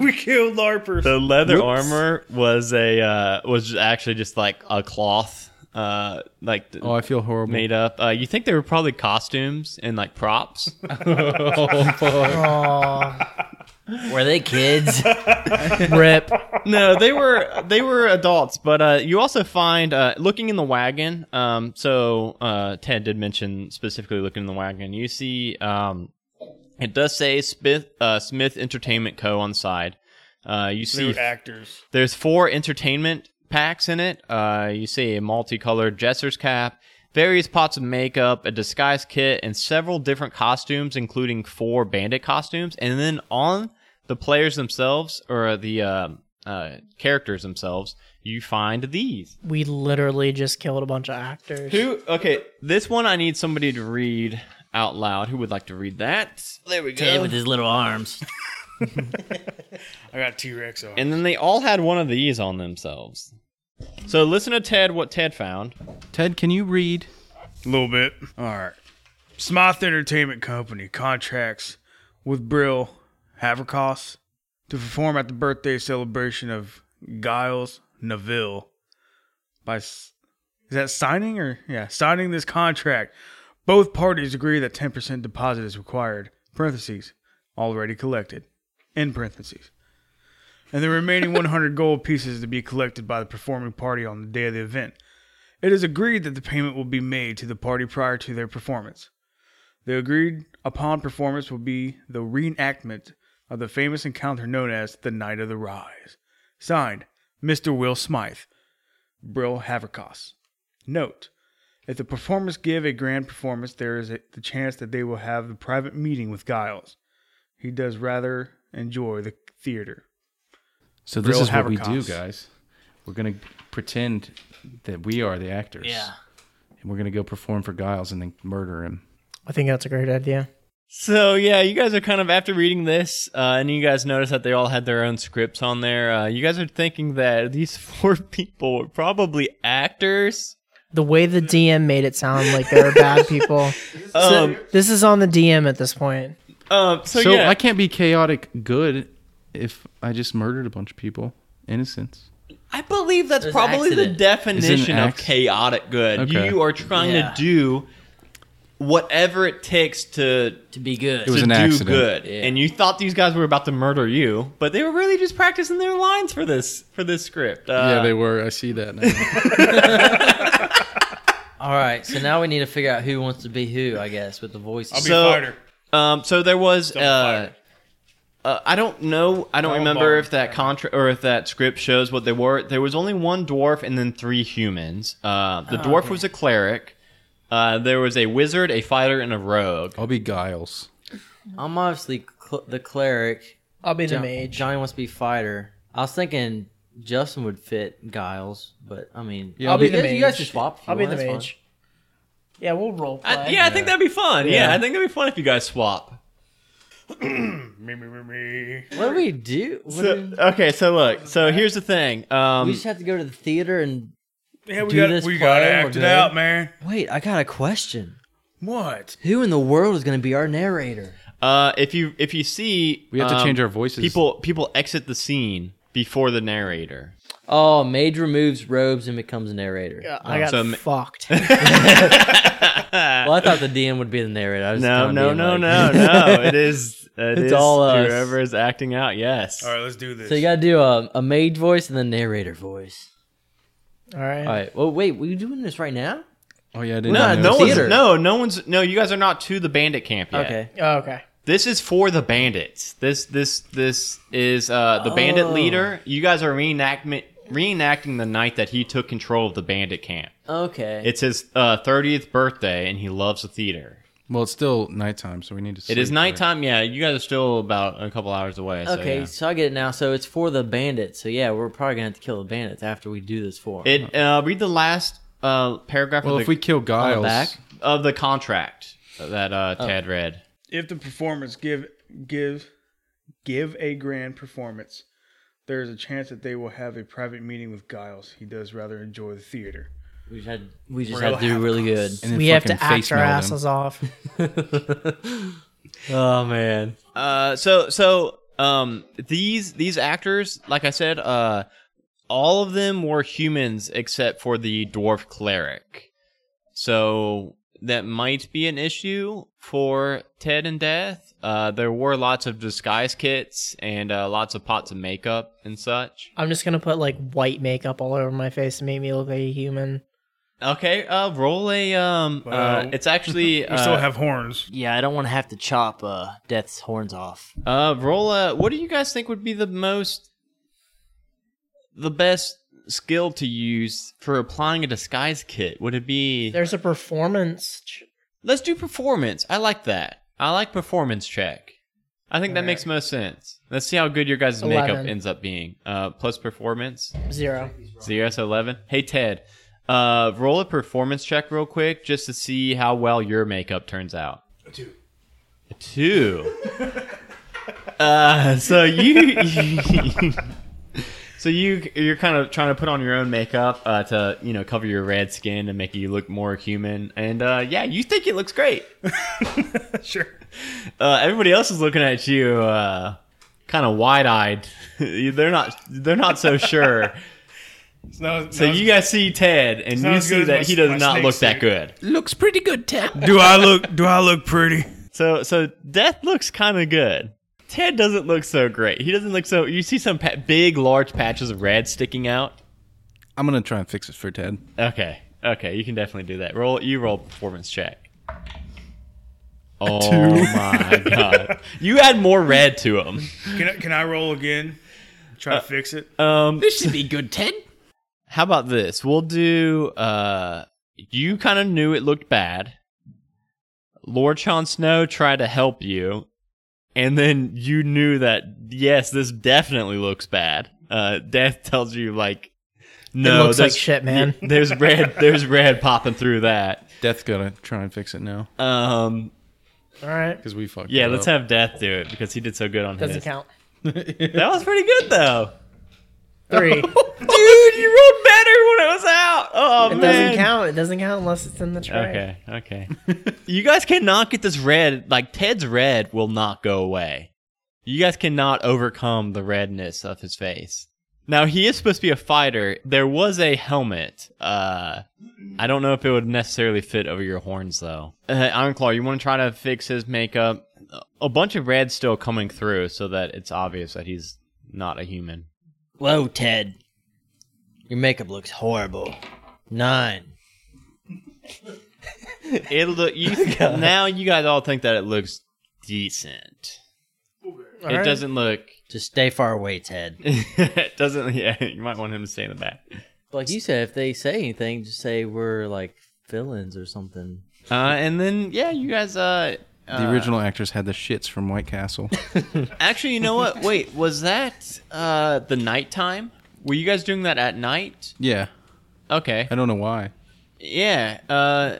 Speaker 2: we killed larpers.
Speaker 1: the leather armor was a uh was actually just like a cloth uh like th-
Speaker 5: Oh, I feel horrible.
Speaker 1: made up uh you think they were probably costumes and like props
Speaker 3: Aw,
Speaker 6: Were they kids?
Speaker 3: rip.
Speaker 1: no, they were they were adults, but uh, you also find uh, looking in the wagon. Um, so uh, Ted did mention specifically looking in the wagon. You see, um, it does say Smith uh, Smith Entertainment Co. on the side. Uh, you
Speaker 2: They
Speaker 1: see
Speaker 2: were actors.
Speaker 1: there's four entertainment packs in it. Uh, you see a multicolored jester's cap, various pots of makeup, a disguise kit, and several different costumes, including four bandit costumes. And then on the players themselves, or the uh, uh, characters themselves, you find these.
Speaker 3: We literally just killed a bunch of actors.
Speaker 1: Who? Okay, this one I need somebody to read out loud. Who would like to read that? There we
Speaker 6: Ted with his little arms.
Speaker 2: I got T Rex on.
Speaker 1: And then they all had one of these on themselves. So listen to Ted, what Ted found.
Speaker 5: Ted, can you read?
Speaker 2: A little bit. All right. Smythe Entertainment Company contracts with Brill Havercos to perform at the birthday celebration of Giles Neville by s- is that signing or yeah signing this contract. Both parties agree that ten percent deposit is required. Parentheses already collected. End parentheses. And the remaining 100 gold pieces to be collected by the performing party on the day of the event. It is agreed that the payment will be made to the party prior to their performance. The agreed upon performance will be the reenactment of the famous encounter known as the Night of the Rise. Signed, Mr. Will Smythe, Brill Havercos. Note, if the performers give a grand performance, there is a, the chance that they will have the private meeting with Giles. He does rather enjoy the theater.
Speaker 5: So this
Speaker 2: Real
Speaker 5: is what we do,
Speaker 2: Havercos.
Speaker 5: guys. We're gonna pretend that we are the actors.
Speaker 6: Yeah.
Speaker 5: And we're gonna go perform for Giles and then murder him.
Speaker 3: I think that's a great idea.
Speaker 1: So yeah, you guys are kind of after reading this, uh, and you guys notice that they all had their own scripts on there. Uh, you guys are thinking that these four people were probably actors.
Speaker 3: The way the DM made it sound like they were bad people.
Speaker 1: Um,
Speaker 3: This is on the DM at this point.
Speaker 1: um, so,
Speaker 5: So,
Speaker 1: yeah,
Speaker 5: I can't be chaotic good if I just murdered a bunch of people. Innocence.
Speaker 1: I believe that's
Speaker 6: There's
Speaker 1: probably the
Speaker 6: accident.
Speaker 5: Is it
Speaker 1: definition
Speaker 5: an
Speaker 1: of
Speaker 5: act?
Speaker 1: chaotic good.
Speaker 5: Okay.
Speaker 1: You are trying
Speaker 6: Yeah.
Speaker 1: to do whatever it takes to
Speaker 6: To be good.
Speaker 5: It was
Speaker 1: to
Speaker 5: an
Speaker 1: do
Speaker 5: accident.
Speaker 1: good.
Speaker 6: Yeah.
Speaker 1: And you thought these guys were about to murder you, but they were really just practicing their lines for this for this script. Uh,
Speaker 5: were. I see that now.
Speaker 6: All right. So now we need to figure out who wants to be who. I guess with the voices.
Speaker 1: be- So- Um, so there was. Uh, uh, I don't know. I don't remember if that contra or if that script shows what they
Speaker 5: Oh,
Speaker 1: were. There was only one dwarf and then three humans. Uh, the dwarf was a cleric. Uh, there was a wizard, a fighter, and a rogue.
Speaker 5: I'll be Giles.
Speaker 4: I'm obviously cl- the cleric.
Speaker 3: I'll be the
Speaker 4: John-
Speaker 3: mage.
Speaker 4: Johnny wants to be fighter. I was thinking Justin would fit Giles, but I mean,
Speaker 5: Yeah,
Speaker 3: I'll be
Speaker 4: you
Speaker 3: the
Speaker 4: guys-
Speaker 3: mage.
Speaker 4: You guys should swap. if you
Speaker 3: I'll be
Speaker 4: want,
Speaker 3: the
Speaker 4: that's fine.
Speaker 3: mage. Yeah, we'll roll
Speaker 7: Uh,
Speaker 3: play.
Speaker 1: I, yeah, I think that'd be fun. Yeah. I think that'd be fun if you guys swap.
Speaker 2: Me, me, me, me.
Speaker 4: What do we do? What do we,
Speaker 1: okay, so look, so here's the thing. Um,
Speaker 4: we just have to go to the theater and
Speaker 2: Yeah, we
Speaker 4: Do
Speaker 2: got
Speaker 4: this
Speaker 2: we got to
Speaker 4: play,
Speaker 2: act
Speaker 4: we're
Speaker 2: it
Speaker 4: good.
Speaker 2: out, man.
Speaker 4: wait. I got a question.
Speaker 2: What?
Speaker 4: Who in the world is going to be our narrator?
Speaker 1: Uh, if you if you see,
Speaker 5: We have to
Speaker 1: um,
Speaker 5: change our voices.
Speaker 1: People people exit the scene before the narrator.
Speaker 4: Oh, mage removes robes and becomes a narrator.
Speaker 3: Yeah, I got
Speaker 1: so ma-
Speaker 3: fucked.
Speaker 4: Well, I thought the DM would be the narrator. I was
Speaker 1: No,
Speaker 4: kinda
Speaker 1: no,
Speaker 4: being
Speaker 1: no,
Speaker 4: like-
Speaker 1: no, no. It is it
Speaker 4: It's
Speaker 1: is
Speaker 4: all us.
Speaker 1: whoever is acting out. Yes.
Speaker 2: All right, let's do this.
Speaker 4: So you got to do a, a mage voice and then narrator voice.
Speaker 3: All right.
Speaker 4: All right. Well, wait. We doing this right now?
Speaker 5: Oh yeah, I didn't
Speaker 1: No,
Speaker 5: know.
Speaker 1: no one's
Speaker 4: Theater.
Speaker 1: no, no one's no. You guys are not to the bandit camp yet.
Speaker 4: Okay.
Speaker 3: Oh, okay.
Speaker 1: This is for the bandits. This this this is uh the
Speaker 4: Oh.
Speaker 1: bandit leader. You guys are reenactment reenacting the night that he took control of the bandit camp.
Speaker 4: Okay.
Speaker 1: It's his uh, 30th birthday, and he loves the theater.
Speaker 5: Well, it's still nighttime, so we need to. Sleep
Speaker 1: It is nighttime. Yeah, you guys are still about a couple hours away.
Speaker 3: uh,
Speaker 1: So
Speaker 4: Okay,
Speaker 1: yeah.
Speaker 4: so I get it now. So it's for the bandits. So yeah, we're probably gonna have to kill the bandits after we do this for 'em.
Speaker 1: It uh, read the last uh, paragraph
Speaker 5: Well,
Speaker 1: of, the,
Speaker 5: if we kill Giles,
Speaker 4: back?
Speaker 1: of the contract that uh, Tad read.
Speaker 2: if the performance give give give a grand performance, there is a chance that they will have a private meeting with Giles. He does rather enjoy the theater.
Speaker 4: we just had we just
Speaker 2: Real
Speaker 4: had to do really good.
Speaker 5: and then
Speaker 3: We have to
Speaker 5: fucking
Speaker 3: act
Speaker 5: face
Speaker 3: our
Speaker 5: meld him.
Speaker 3: asses off.
Speaker 4: Oh man,
Speaker 1: Uh, so so um, these these actors, like I said, uh, all of them were humans except for the dwarf cleric. So that might be an issue for Ted and Death. Uh, there were lots of disguise kits and uh, lots of pots of makeup and such.
Speaker 3: I'm just gonna put like white makeup all over my face to make me look like a human.
Speaker 1: Okay, uh, roll a um. uh,
Speaker 2: Wow.
Speaker 1: it's actually
Speaker 2: We still
Speaker 1: uh,
Speaker 2: have horns.
Speaker 6: Yeah, I don't want to have to chop uh, Death's horns off.
Speaker 1: uh, roll a. What do you guys think would be the most, the best skill to use for applying a disguise kit? Would it be?
Speaker 3: There's a performance. ch-
Speaker 1: Let's do performance. I like that. I like performance check. I think that
Speaker 3: Alright.
Speaker 1: makes most sense. Let's see how good your guys' makeup
Speaker 3: Eleven.
Speaker 1: ends up being. Uh, plus performance.
Speaker 3: Zero.
Speaker 1: Zero so eleven. Hey Ted, uh, roll a performance check real quick just to see how well your makeup turns out. A two. A two. uh, so you, so you, you're kind of trying to put on your own makeup uh, to you know cover your red skin and make you look more human. And uh, yeah, you think it looks great.
Speaker 2: Sure.
Speaker 1: Uh, everybody else is looking at you, uh, kind of wide eyed. they're not. They're not so sure.
Speaker 2: It's not,
Speaker 1: So you guys see Ted, and
Speaker 2: not
Speaker 1: you
Speaker 2: as
Speaker 1: see
Speaker 2: good as
Speaker 1: that
Speaker 2: my-
Speaker 1: he does
Speaker 2: my
Speaker 1: not
Speaker 2: snake
Speaker 1: look that
Speaker 2: suit.
Speaker 1: good.
Speaker 7: Looks pretty good, Ted.
Speaker 2: do I look do I look pretty?
Speaker 1: So so Death looks kind of good. Ted doesn't look so great. He doesn't look so. You see some pa- big, large patches of red sticking out.
Speaker 5: I'm gonna try and fix it for Ted.
Speaker 1: Okay, okay, you can definitely do that. Roll you roll performance check. Oh my god! You add more red to him.
Speaker 2: Can I, can I roll again?
Speaker 1: Uh,
Speaker 2: Try to fix it.
Speaker 1: Um,
Speaker 7: This should be good, Ted.
Speaker 1: how about this? We'll do. Uh, you kind of knew it looked bad. Lord Jon Snow tried to help you, and then you knew that yes, this definitely looks bad. Uh, Death tells you like, no,
Speaker 3: looks like
Speaker 1: there's-
Speaker 3: shit, man.
Speaker 1: yeah, there's red. There's red popping through that.
Speaker 5: Death's gonna try and fix it now
Speaker 1: Um,
Speaker 3: All right.
Speaker 5: because we fucked.
Speaker 1: yeah,
Speaker 5: it
Speaker 1: let's
Speaker 5: up.
Speaker 1: have Death do it because he did so good on
Speaker 3: Doesn't
Speaker 1: his.
Speaker 3: count.
Speaker 1: That was pretty good though.
Speaker 3: Three.
Speaker 1: Dude, you rolled better when it was out. Oh
Speaker 3: It
Speaker 1: man.
Speaker 3: doesn't count. It doesn't count unless it's in the tray.
Speaker 1: Okay, okay. you guys cannot get this red. Like Ted's red will not go away. You guys cannot overcome the redness of his face. Now he is supposed to be a fighter. There was a helmet. Uh, I don't know if it would necessarily fit over your horns though. Uh, Ironclaw, you want to try to fix his makeup? A bunch of red still coming through, so that it's obvious that he's not a human.
Speaker 6: Whoa, Ted. Your makeup looks horrible. Nine.
Speaker 1: It look you now. You guys all think that it looks decent.
Speaker 3: All
Speaker 1: it
Speaker 3: right.
Speaker 1: doesn't look
Speaker 6: Just stay far away, Ted.
Speaker 1: it doesn't. Yeah, you might want him to stay in the back.
Speaker 4: like you said, if they say anything, just say we're like villains or something.
Speaker 1: Uh, and then yeah, you guys. Uh,
Speaker 5: The original actors had the shits from White Castle.
Speaker 1: actually, you know what? Wait, was that uh, the nighttime? Were you guys doing that at night?
Speaker 5: yeah,
Speaker 1: Okay.
Speaker 5: I don't know why.
Speaker 1: Yeah. Uh,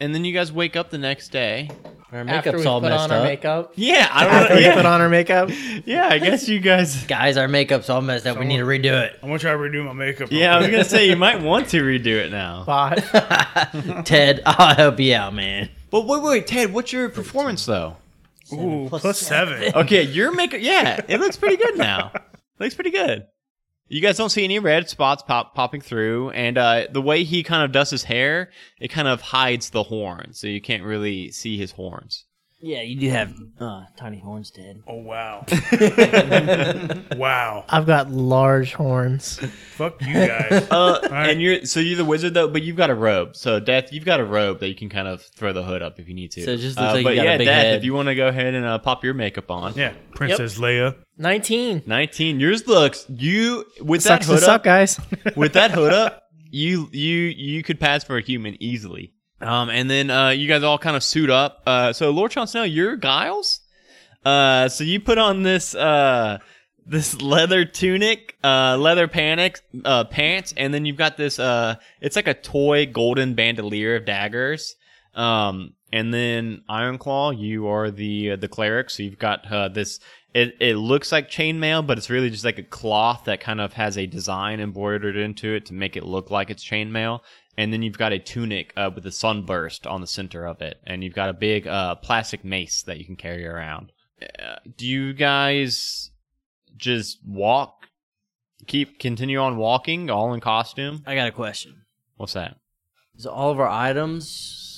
Speaker 1: and then you guys wake up the next day.
Speaker 3: After
Speaker 4: Our
Speaker 3: we
Speaker 4: makeup's
Speaker 3: put
Speaker 4: all messed
Speaker 3: on our
Speaker 4: up.
Speaker 3: makeup.
Speaker 1: Yeah, I
Speaker 3: After
Speaker 1: don't
Speaker 3: we
Speaker 1: know.
Speaker 3: put on our makeup.
Speaker 1: Yeah, I guess you guys.
Speaker 4: Guys, our makeup's all messed up. we need to redo it.
Speaker 2: I'm gonna try to redo my makeup. real
Speaker 1: Yeah, I was gonna say you might want to redo it now.
Speaker 3: Bot.
Speaker 4: Ted, I'll help you out, man.
Speaker 1: But wait, wait, Ted, what's your performance though?
Speaker 2: quick. Ooh, plus, plus seven.
Speaker 1: Okay, your makeup. Yeah, it looks pretty good now. looks pretty good. You guys don't see any red spots pop popping through, and uh, the way he kind of does his hair, it kind of hides the horn, so you can't really see his horns.
Speaker 6: Yeah, you do have uh, tiny horns, Ted.
Speaker 2: Oh wow. wow.
Speaker 3: I've got large horns.
Speaker 2: Fuck you guys.
Speaker 1: Uh,
Speaker 2: right.
Speaker 1: And you're so you're the wizard though, but you've got a robe. So Death, you've got a robe that you can kind of throw the hood up if you need to.
Speaker 4: So it just looks
Speaker 1: Uh,
Speaker 4: like you
Speaker 1: but
Speaker 4: got a
Speaker 1: yeah,
Speaker 4: big
Speaker 1: Death,
Speaker 4: head.
Speaker 1: if you want to go ahead and uh, pop your makeup on.
Speaker 2: Yeah, Princess Leia.
Speaker 3: 19.
Speaker 1: 19 yours looks you with
Speaker 3: Sucks
Speaker 1: that
Speaker 3: to
Speaker 1: hood
Speaker 3: suck,
Speaker 1: up
Speaker 3: guys.
Speaker 1: with that hood up you you you could pass for a human easily um and then uh you guys all kind of suit up uh so lord Chon Snow, you're guiles uh so you put on this uh this leather tunic uh leather panic uh pants and then you've got this uh it's like a toy golden bandolier of daggers um, and then Ironclaw, you are the uh, the cleric, so you've got uh, this. It, it looks like chainmail, but it's really just like a cloth that kind of has a design embroidered into it to make it look like it's chainmail. And then you've got a tunic uh, with a sunburst on the center of it, and you've got a big uh, plastic mace that you can carry around. Uh, do you guys just walk? Keep continue on walking, all in costume.
Speaker 6: I got a question.
Speaker 1: What's that?
Speaker 4: Is all of our items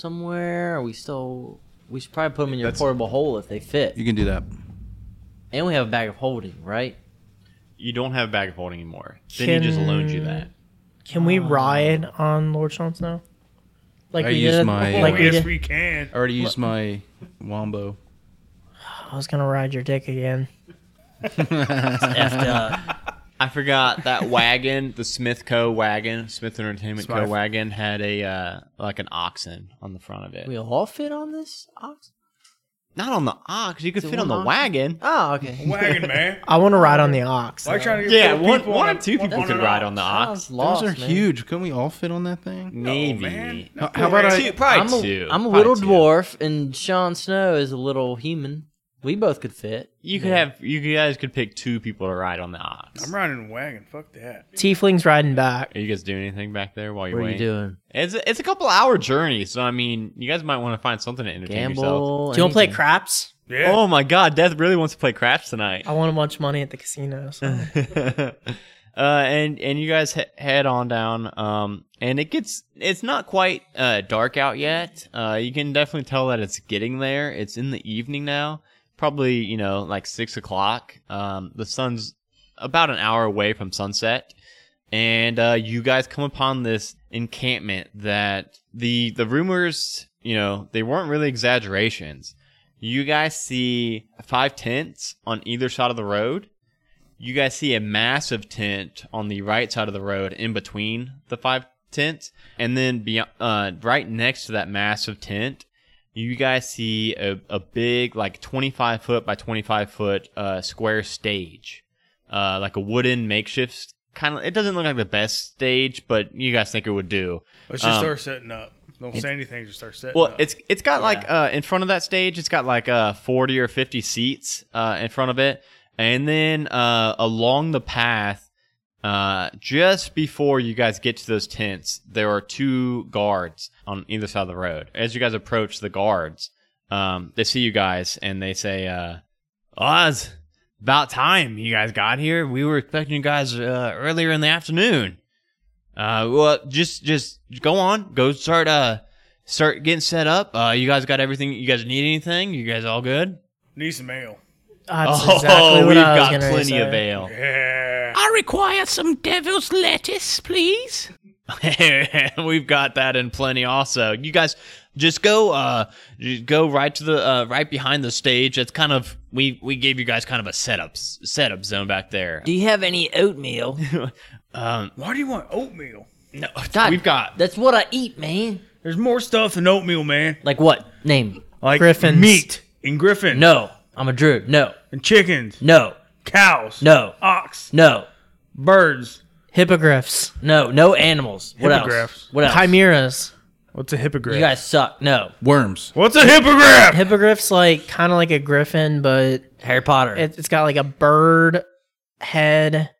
Speaker 4: somewhere? Are we still? We should probably put them in your portable hole if they fit.
Speaker 5: You can do that.
Speaker 4: And we have a bag of holding, right?
Speaker 1: You don't have a bag of holding anymore. Then he just loaned you that.
Speaker 3: Can we ride on Lord Sean Snow? Like
Speaker 5: I
Speaker 3: we
Speaker 5: used
Speaker 3: did.
Speaker 5: my-
Speaker 2: Oh
Speaker 3: like we
Speaker 2: yes,
Speaker 3: did.
Speaker 2: we can.
Speaker 5: I already used my wombo.
Speaker 3: I was gonna ride your dick again.
Speaker 6: Effed up.
Speaker 1: I forgot that wagon, the Smith Co. wagon, Smith Entertainment Co.
Speaker 2: Smythe.
Speaker 1: wagon had a uh, like an oxen on the front of it.
Speaker 4: We all fit on this ox.
Speaker 1: Not on the ox, you could fit
Speaker 4: one
Speaker 1: on the
Speaker 4: oxen?
Speaker 1: wagon.
Speaker 4: Oh, okay.
Speaker 2: Wagon man.
Speaker 3: I want to ride on the ox.
Speaker 2: Why are you trying to get
Speaker 1: Yeah,
Speaker 2: four
Speaker 1: one,
Speaker 2: people
Speaker 1: one
Speaker 2: on
Speaker 1: or
Speaker 2: a-
Speaker 1: two people
Speaker 2: on
Speaker 1: could
Speaker 2: an
Speaker 1: ride
Speaker 2: ox?
Speaker 1: on the
Speaker 4: I
Speaker 1: ox.
Speaker 4: was lost,
Speaker 5: Those are
Speaker 4: man.
Speaker 5: huge. Couldn't we all fit on that thing?
Speaker 1: Maybe.
Speaker 2: man.
Speaker 5: How, how about
Speaker 1: Two-
Speaker 5: I?
Speaker 1: probably
Speaker 4: I'm a,
Speaker 1: two.
Speaker 4: am a
Speaker 1: probably
Speaker 4: little
Speaker 1: two.
Speaker 4: dwarf, and Sean Snow is a little human. We both could fit.
Speaker 1: You could have you guys could pick two people to ride on the ox.
Speaker 2: I'm riding a wagon. Fuck that.
Speaker 3: Tiefling's riding back.
Speaker 1: Are you guys doing anything back there while you're
Speaker 4: What are you
Speaker 1: waiting?
Speaker 4: doing?
Speaker 1: It's a, it's a couple hour journey, so I mean, you guys might want to find something to entertain yourself.
Speaker 4: Gamble.
Speaker 3: Do you want to play
Speaker 4: anything.
Speaker 3: craps?
Speaker 2: Yeah.
Speaker 1: Oh my god, Death really wants to play craps tonight.
Speaker 3: I won a bunch of money at the casino. So.
Speaker 1: uh, and and you guys he- head on down. Um, and it gets it's not quite uh, dark out yet. Uh, you can definitely tell that it's getting there. It's in the evening now, probably you know like six o'clock. Um, the sun's about an hour away from sunset, and uh, you guys come upon this encampment that the the rumors you know they weren't really exaggerations. You guys see five tents on either side of the road you guys see a massive tent on the right side of the road in between the five tents and then beyond, uh, right next to that massive tent you guys see a, a big like 25 foot by 25 foot uh, square stage uh, like a wooden makeshift kind of it doesn't look like the best stage but you guys think it would do
Speaker 2: Let's just
Speaker 1: Um,
Speaker 2: start setting up. Don't say anything. Just start setting
Speaker 1: well,
Speaker 2: up.
Speaker 1: it's it's got like uh, in front of that stage, it's got like uh, forty or fifty seats uh, in front of it, and then uh, along the path, uh, just before you guys get to those tents, there are two guards on either side of the road. As you guys approach the guards, um, they see you guys and they say, uh, "Oz, about time you guys got here. We were expecting you guys uh, earlier in the afternoon." Uh, well, just just go on, go start uh start getting set up. Uh, you guys got everything? You guys need anything? You guys all good?
Speaker 2: Need some ale.
Speaker 3: That's
Speaker 1: oh,
Speaker 3: exactly what
Speaker 1: we've
Speaker 3: I was
Speaker 1: got
Speaker 3: gonna
Speaker 1: plenty
Speaker 3: say.
Speaker 1: of ale.
Speaker 2: Yeah.
Speaker 7: I require some devil's lettuce, please.
Speaker 1: we've got that in plenty. Also, you guys just go uh just go right to the uh, right behind the stage. It's kind of we we gave you guys kind of a setup setup zone back there.
Speaker 6: Do you have any oatmeal?
Speaker 1: um,
Speaker 2: Why do you want oatmeal?
Speaker 1: no, we've got
Speaker 4: That's what I eat, man.
Speaker 2: There's more stuff than oatmeal, man.
Speaker 6: Like what? Name.
Speaker 2: Like
Speaker 3: Griffins.
Speaker 2: meat and griffins.
Speaker 6: No. I'm a druid. No.
Speaker 2: And chickens.
Speaker 6: No.
Speaker 2: Cows.
Speaker 6: No.
Speaker 2: Ox.
Speaker 6: No.
Speaker 2: Birds.
Speaker 3: Hippogriffs.
Speaker 6: No. No animals. What else?
Speaker 2: Hippogriffs.
Speaker 6: What else?
Speaker 3: Chimeras.
Speaker 2: What's a hippogriff?
Speaker 6: You guys suck. No.
Speaker 5: Worms.
Speaker 2: What's a hippogriff?
Speaker 3: Hippogriffs like kind of like a griffin, but
Speaker 6: Harry Potter.
Speaker 3: it, it's got like a bird head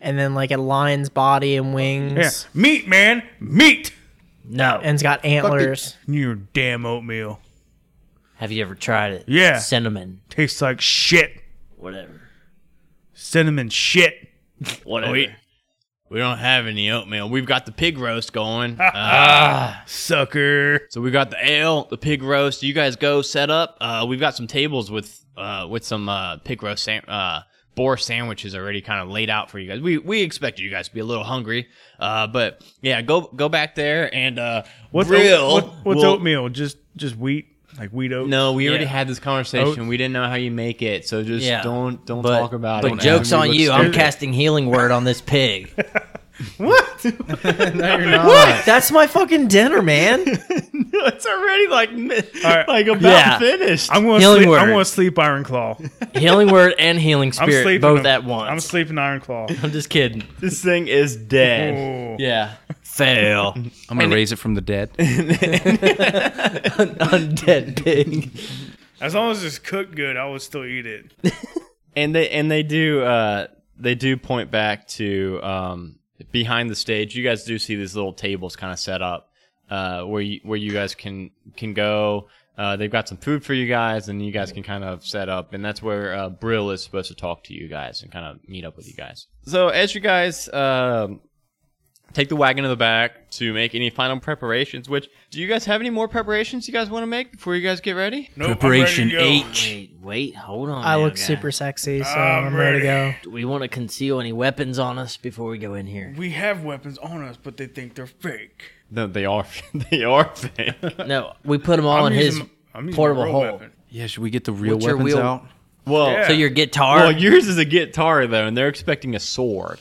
Speaker 3: and then like a lion's body and wings.
Speaker 2: Yeah. Meat, man. Meat.
Speaker 6: no.
Speaker 3: And it's got antlers.
Speaker 2: Your damn oatmeal
Speaker 6: Have you ever tried it?
Speaker 2: Yeah.
Speaker 6: Cinnamon.
Speaker 2: tastes like shit.
Speaker 6: Whatever.
Speaker 2: Cinnamon shit.
Speaker 6: Whatever.
Speaker 1: Wait. We don't have any oatmeal. We've got the pig roast going.
Speaker 2: Sucker.
Speaker 1: So we got the ale, the pig roast. You guys go set up. Uh, we've got some tables with uh, with some uh, pig roast sam- uh, boar sandwiches already kind of laid out for you guys. We we expect you guys to be a little hungry, uh, but yeah, go go back there and uh,
Speaker 2: What's oat-
Speaker 1: Brill
Speaker 2: what- what's
Speaker 1: will-
Speaker 2: oatmeal? Just just wheat, like wheat oats.
Speaker 1: No, we already
Speaker 6: Yeah.
Speaker 1: had this conversation. We didn't know how you make it, so just
Speaker 6: Yeah.
Speaker 1: don't don't
Speaker 6: But,
Speaker 1: talk about
Speaker 6: but
Speaker 1: it.
Speaker 6: joke's on you. I'm
Speaker 2: stupid.
Speaker 6: casting healing word on this pig.
Speaker 3: That's my fucking dinner, man.
Speaker 1: it's already like
Speaker 2: right.
Speaker 1: like about
Speaker 6: Yeah.
Speaker 1: finished.
Speaker 2: I'm gonna
Speaker 6: Healing
Speaker 2: sleep.
Speaker 6: word.
Speaker 2: I'm gonna sleep Iron Claw.
Speaker 6: healing word and healing
Speaker 2: I'm
Speaker 6: spirit
Speaker 2: sleeping
Speaker 6: both
Speaker 2: them.
Speaker 6: at once.
Speaker 2: I'm sleeping Iron Claw.
Speaker 6: I'm just kidding.
Speaker 1: this thing is dead.
Speaker 2: Oh.
Speaker 6: Yeah. Fail.
Speaker 5: I'm gonna raise it from the dead.
Speaker 6: Undead pig.
Speaker 2: As long as it's cooked good, I would still eat it.
Speaker 1: and they and they do uh they do point back to um behind the stage you guys do see these little tables kind of set up uh where you where you guys can can go uh they've got some food for you guys and you guys can kind of set up and that's where uh brill is supposed to talk to you guys and kind of meet up with you guys so as you guys um take the wagon to the back to make any final preparations which do you guys have any more preparations you guys want to make before you guys get ready
Speaker 2: Nope, I'm
Speaker 5: Preparation
Speaker 2: ready to go.
Speaker 5: H.
Speaker 6: Wait, wait, hold on.
Speaker 3: I
Speaker 6: now,
Speaker 3: look
Speaker 6: guys.
Speaker 3: super sexy, so
Speaker 2: I'm
Speaker 3: I'm, ready to go.
Speaker 2: ready.
Speaker 6: Do we want to conceal any weapons on us before we go in here?
Speaker 2: We have weapons on us, but they think they're fake.
Speaker 1: no they are they are fake
Speaker 6: No, we put them all in his.
Speaker 2: using- I'm using
Speaker 6: portable
Speaker 2: a real
Speaker 6: hole.
Speaker 2: weapon.
Speaker 5: Yeah, should we get the real
Speaker 6: What's your
Speaker 5: weapons
Speaker 6: wheel-
Speaker 5: out?
Speaker 1: well
Speaker 2: Yeah.
Speaker 6: So your guitar.
Speaker 1: Well, yours is a guitar though, and they're expecting a sword.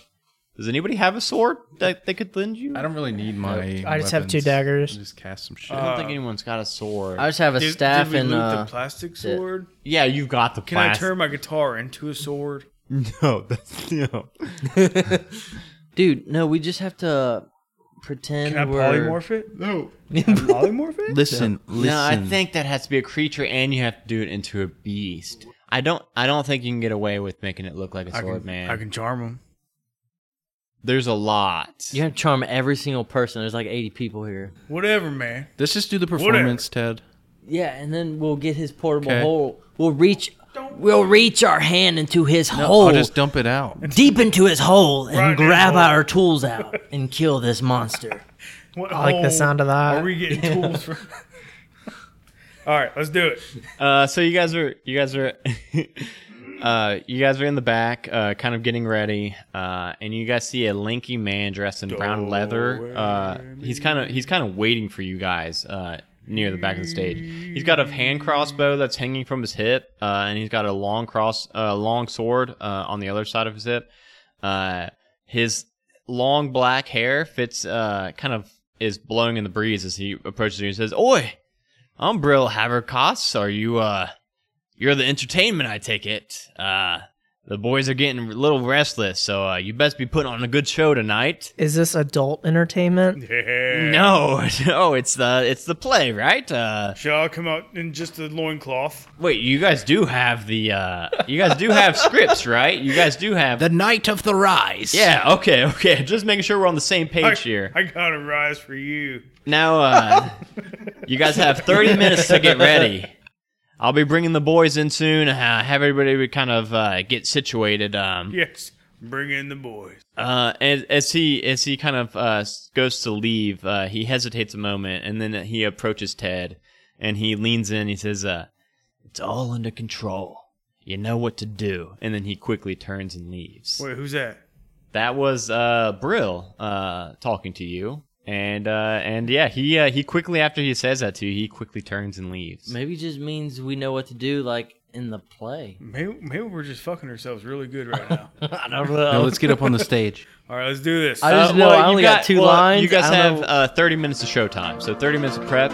Speaker 1: Does anybody have a sword that they could lend you?
Speaker 5: I don't really need my.
Speaker 3: I just have two
Speaker 5: weapons.
Speaker 3: daggers.
Speaker 5: I'll Just cast some shit.
Speaker 1: I don't think anyone's got a sword.
Speaker 6: I just have a
Speaker 2: Did,
Speaker 6: staff
Speaker 2: did we
Speaker 6: and
Speaker 2: loot
Speaker 6: uh,
Speaker 2: the plastic sword?
Speaker 1: yeah, you've got the.
Speaker 2: Can I turn my guitar into a sword?
Speaker 1: No, that's no.
Speaker 6: dude. No, we just have to pretend
Speaker 2: Can I
Speaker 6: we're.
Speaker 2: polymorph it? No. polymorph it?
Speaker 5: Listen, listen.
Speaker 1: No, I think that has to be a creature, and you have to do it into a beast. I don't. I don't think you can get away with making it look like a
Speaker 2: I
Speaker 1: sword,
Speaker 2: can,
Speaker 1: man.
Speaker 2: I can charm them.
Speaker 1: There's a lot.
Speaker 6: You're gonna charm every single person. There's like 80 people here.
Speaker 2: Whatever, man.
Speaker 5: Let's just do the performance, Ted.
Speaker 6: Yeah, and then we'll get his portable
Speaker 5: 'Kay.
Speaker 6: hole. We'll reach. We'll reach our hand into his hole,
Speaker 5: I'll just dump it out.
Speaker 6: deep into his hole, and
Speaker 2: Right in his
Speaker 6: grab
Speaker 2: hole.
Speaker 6: our tools out and kill this monster.
Speaker 2: What
Speaker 3: I like the
Speaker 2: hole
Speaker 3: sound of that.
Speaker 2: Are we getting tools from? All right, let's do it.
Speaker 1: Uh, so you guys are you guys are uh, you guys are in the back, uh, kind of getting ready, uh, and you guys see a lanky man dressed in brown leather. Uh, he's kind of he's kind of waiting for you guys uh, near the back of the stage. He's got a hand crossbow that's hanging from his hip, uh, and he's got a long cross uh, long sword uh, on the other side of his hip. Uh, his long black hair fits uh, kind of is blowing in the breeze as he approaches you and says, "Oi." I'm Brill Haverkoss. Are you, uh, you're the entertainment, I take it. Uh, the boys are getting a little restless, so, uh, you best be putting on a good show tonight.
Speaker 3: Is this adult entertainment?
Speaker 2: Yeah.
Speaker 1: No, no, it's the, it's the play, right? Uh,
Speaker 2: Shall I come out in just a loincloth?
Speaker 1: wait, you guys do have the, uh, you guys do have scripts, right? You guys do have.
Speaker 7: The night of the rise.
Speaker 1: yeah, okay, okay. Just making sure we're on the same
Speaker 2: I,
Speaker 1: page here.
Speaker 2: I got a rise for you.
Speaker 1: Now, uh, you guys have 30 minutes to get ready. I'll be bringing the boys in soon. Uh, have everybody kind of uh, get situated. Um,
Speaker 2: Yes, bring in the boys.
Speaker 1: Uh, as, as he as he kind of uh, s- goes to leave, uh, he hesitates a moment, and then he approaches Ted, and he leans in. He says, uh, "It's all under control. You know what to do." And then he quickly turns and leaves.
Speaker 2: Wait, who's that?
Speaker 1: That was uh, Brill uh, talking to you, and uh, and yeah, he uh, he quickly after he says that to you, he quickly turns and leaves.
Speaker 6: Maybe it just means we know what to do. Like
Speaker 4: in the play.
Speaker 2: Maybe, maybe we're just fucking ourselves really good right now.
Speaker 4: I don't
Speaker 5: Now
Speaker 4: know.
Speaker 5: let's get up on the stage.
Speaker 2: All right, let's do this.
Speaker 4: I just
Speaker 1: Uh,
Speaker 4: know
Speaker 1: well,
Speaker 4: I
Speaker 1: you
Speaker 4: only got, two
Speaker 1: well,
Speaker 4: lines.
Speaker 1: You guys
Speaker 4: I don't
Speaker 1: have
Speaker 4: know-
Speaker 1: uh, 30 minutes of showtime, so 30 minutes of prep.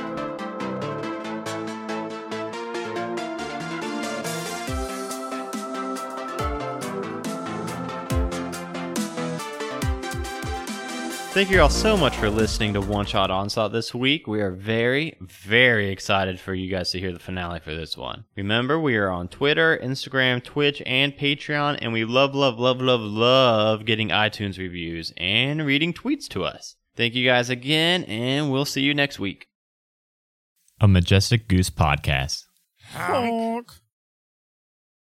Speaker 1: Thank you all so much for listening to One Shot Onslaught this week. We are very, very excited for you guys to hear the finale for this one. Remember, we are on Twitter, Instagram, Twitch, and Patreon, and we love, love, love, love, love getting iTunes reviews and reading tweets to us. Thank you guys again, and we'll see you next week. A Majestic Goose Podcast.
Speaker 2: Honk.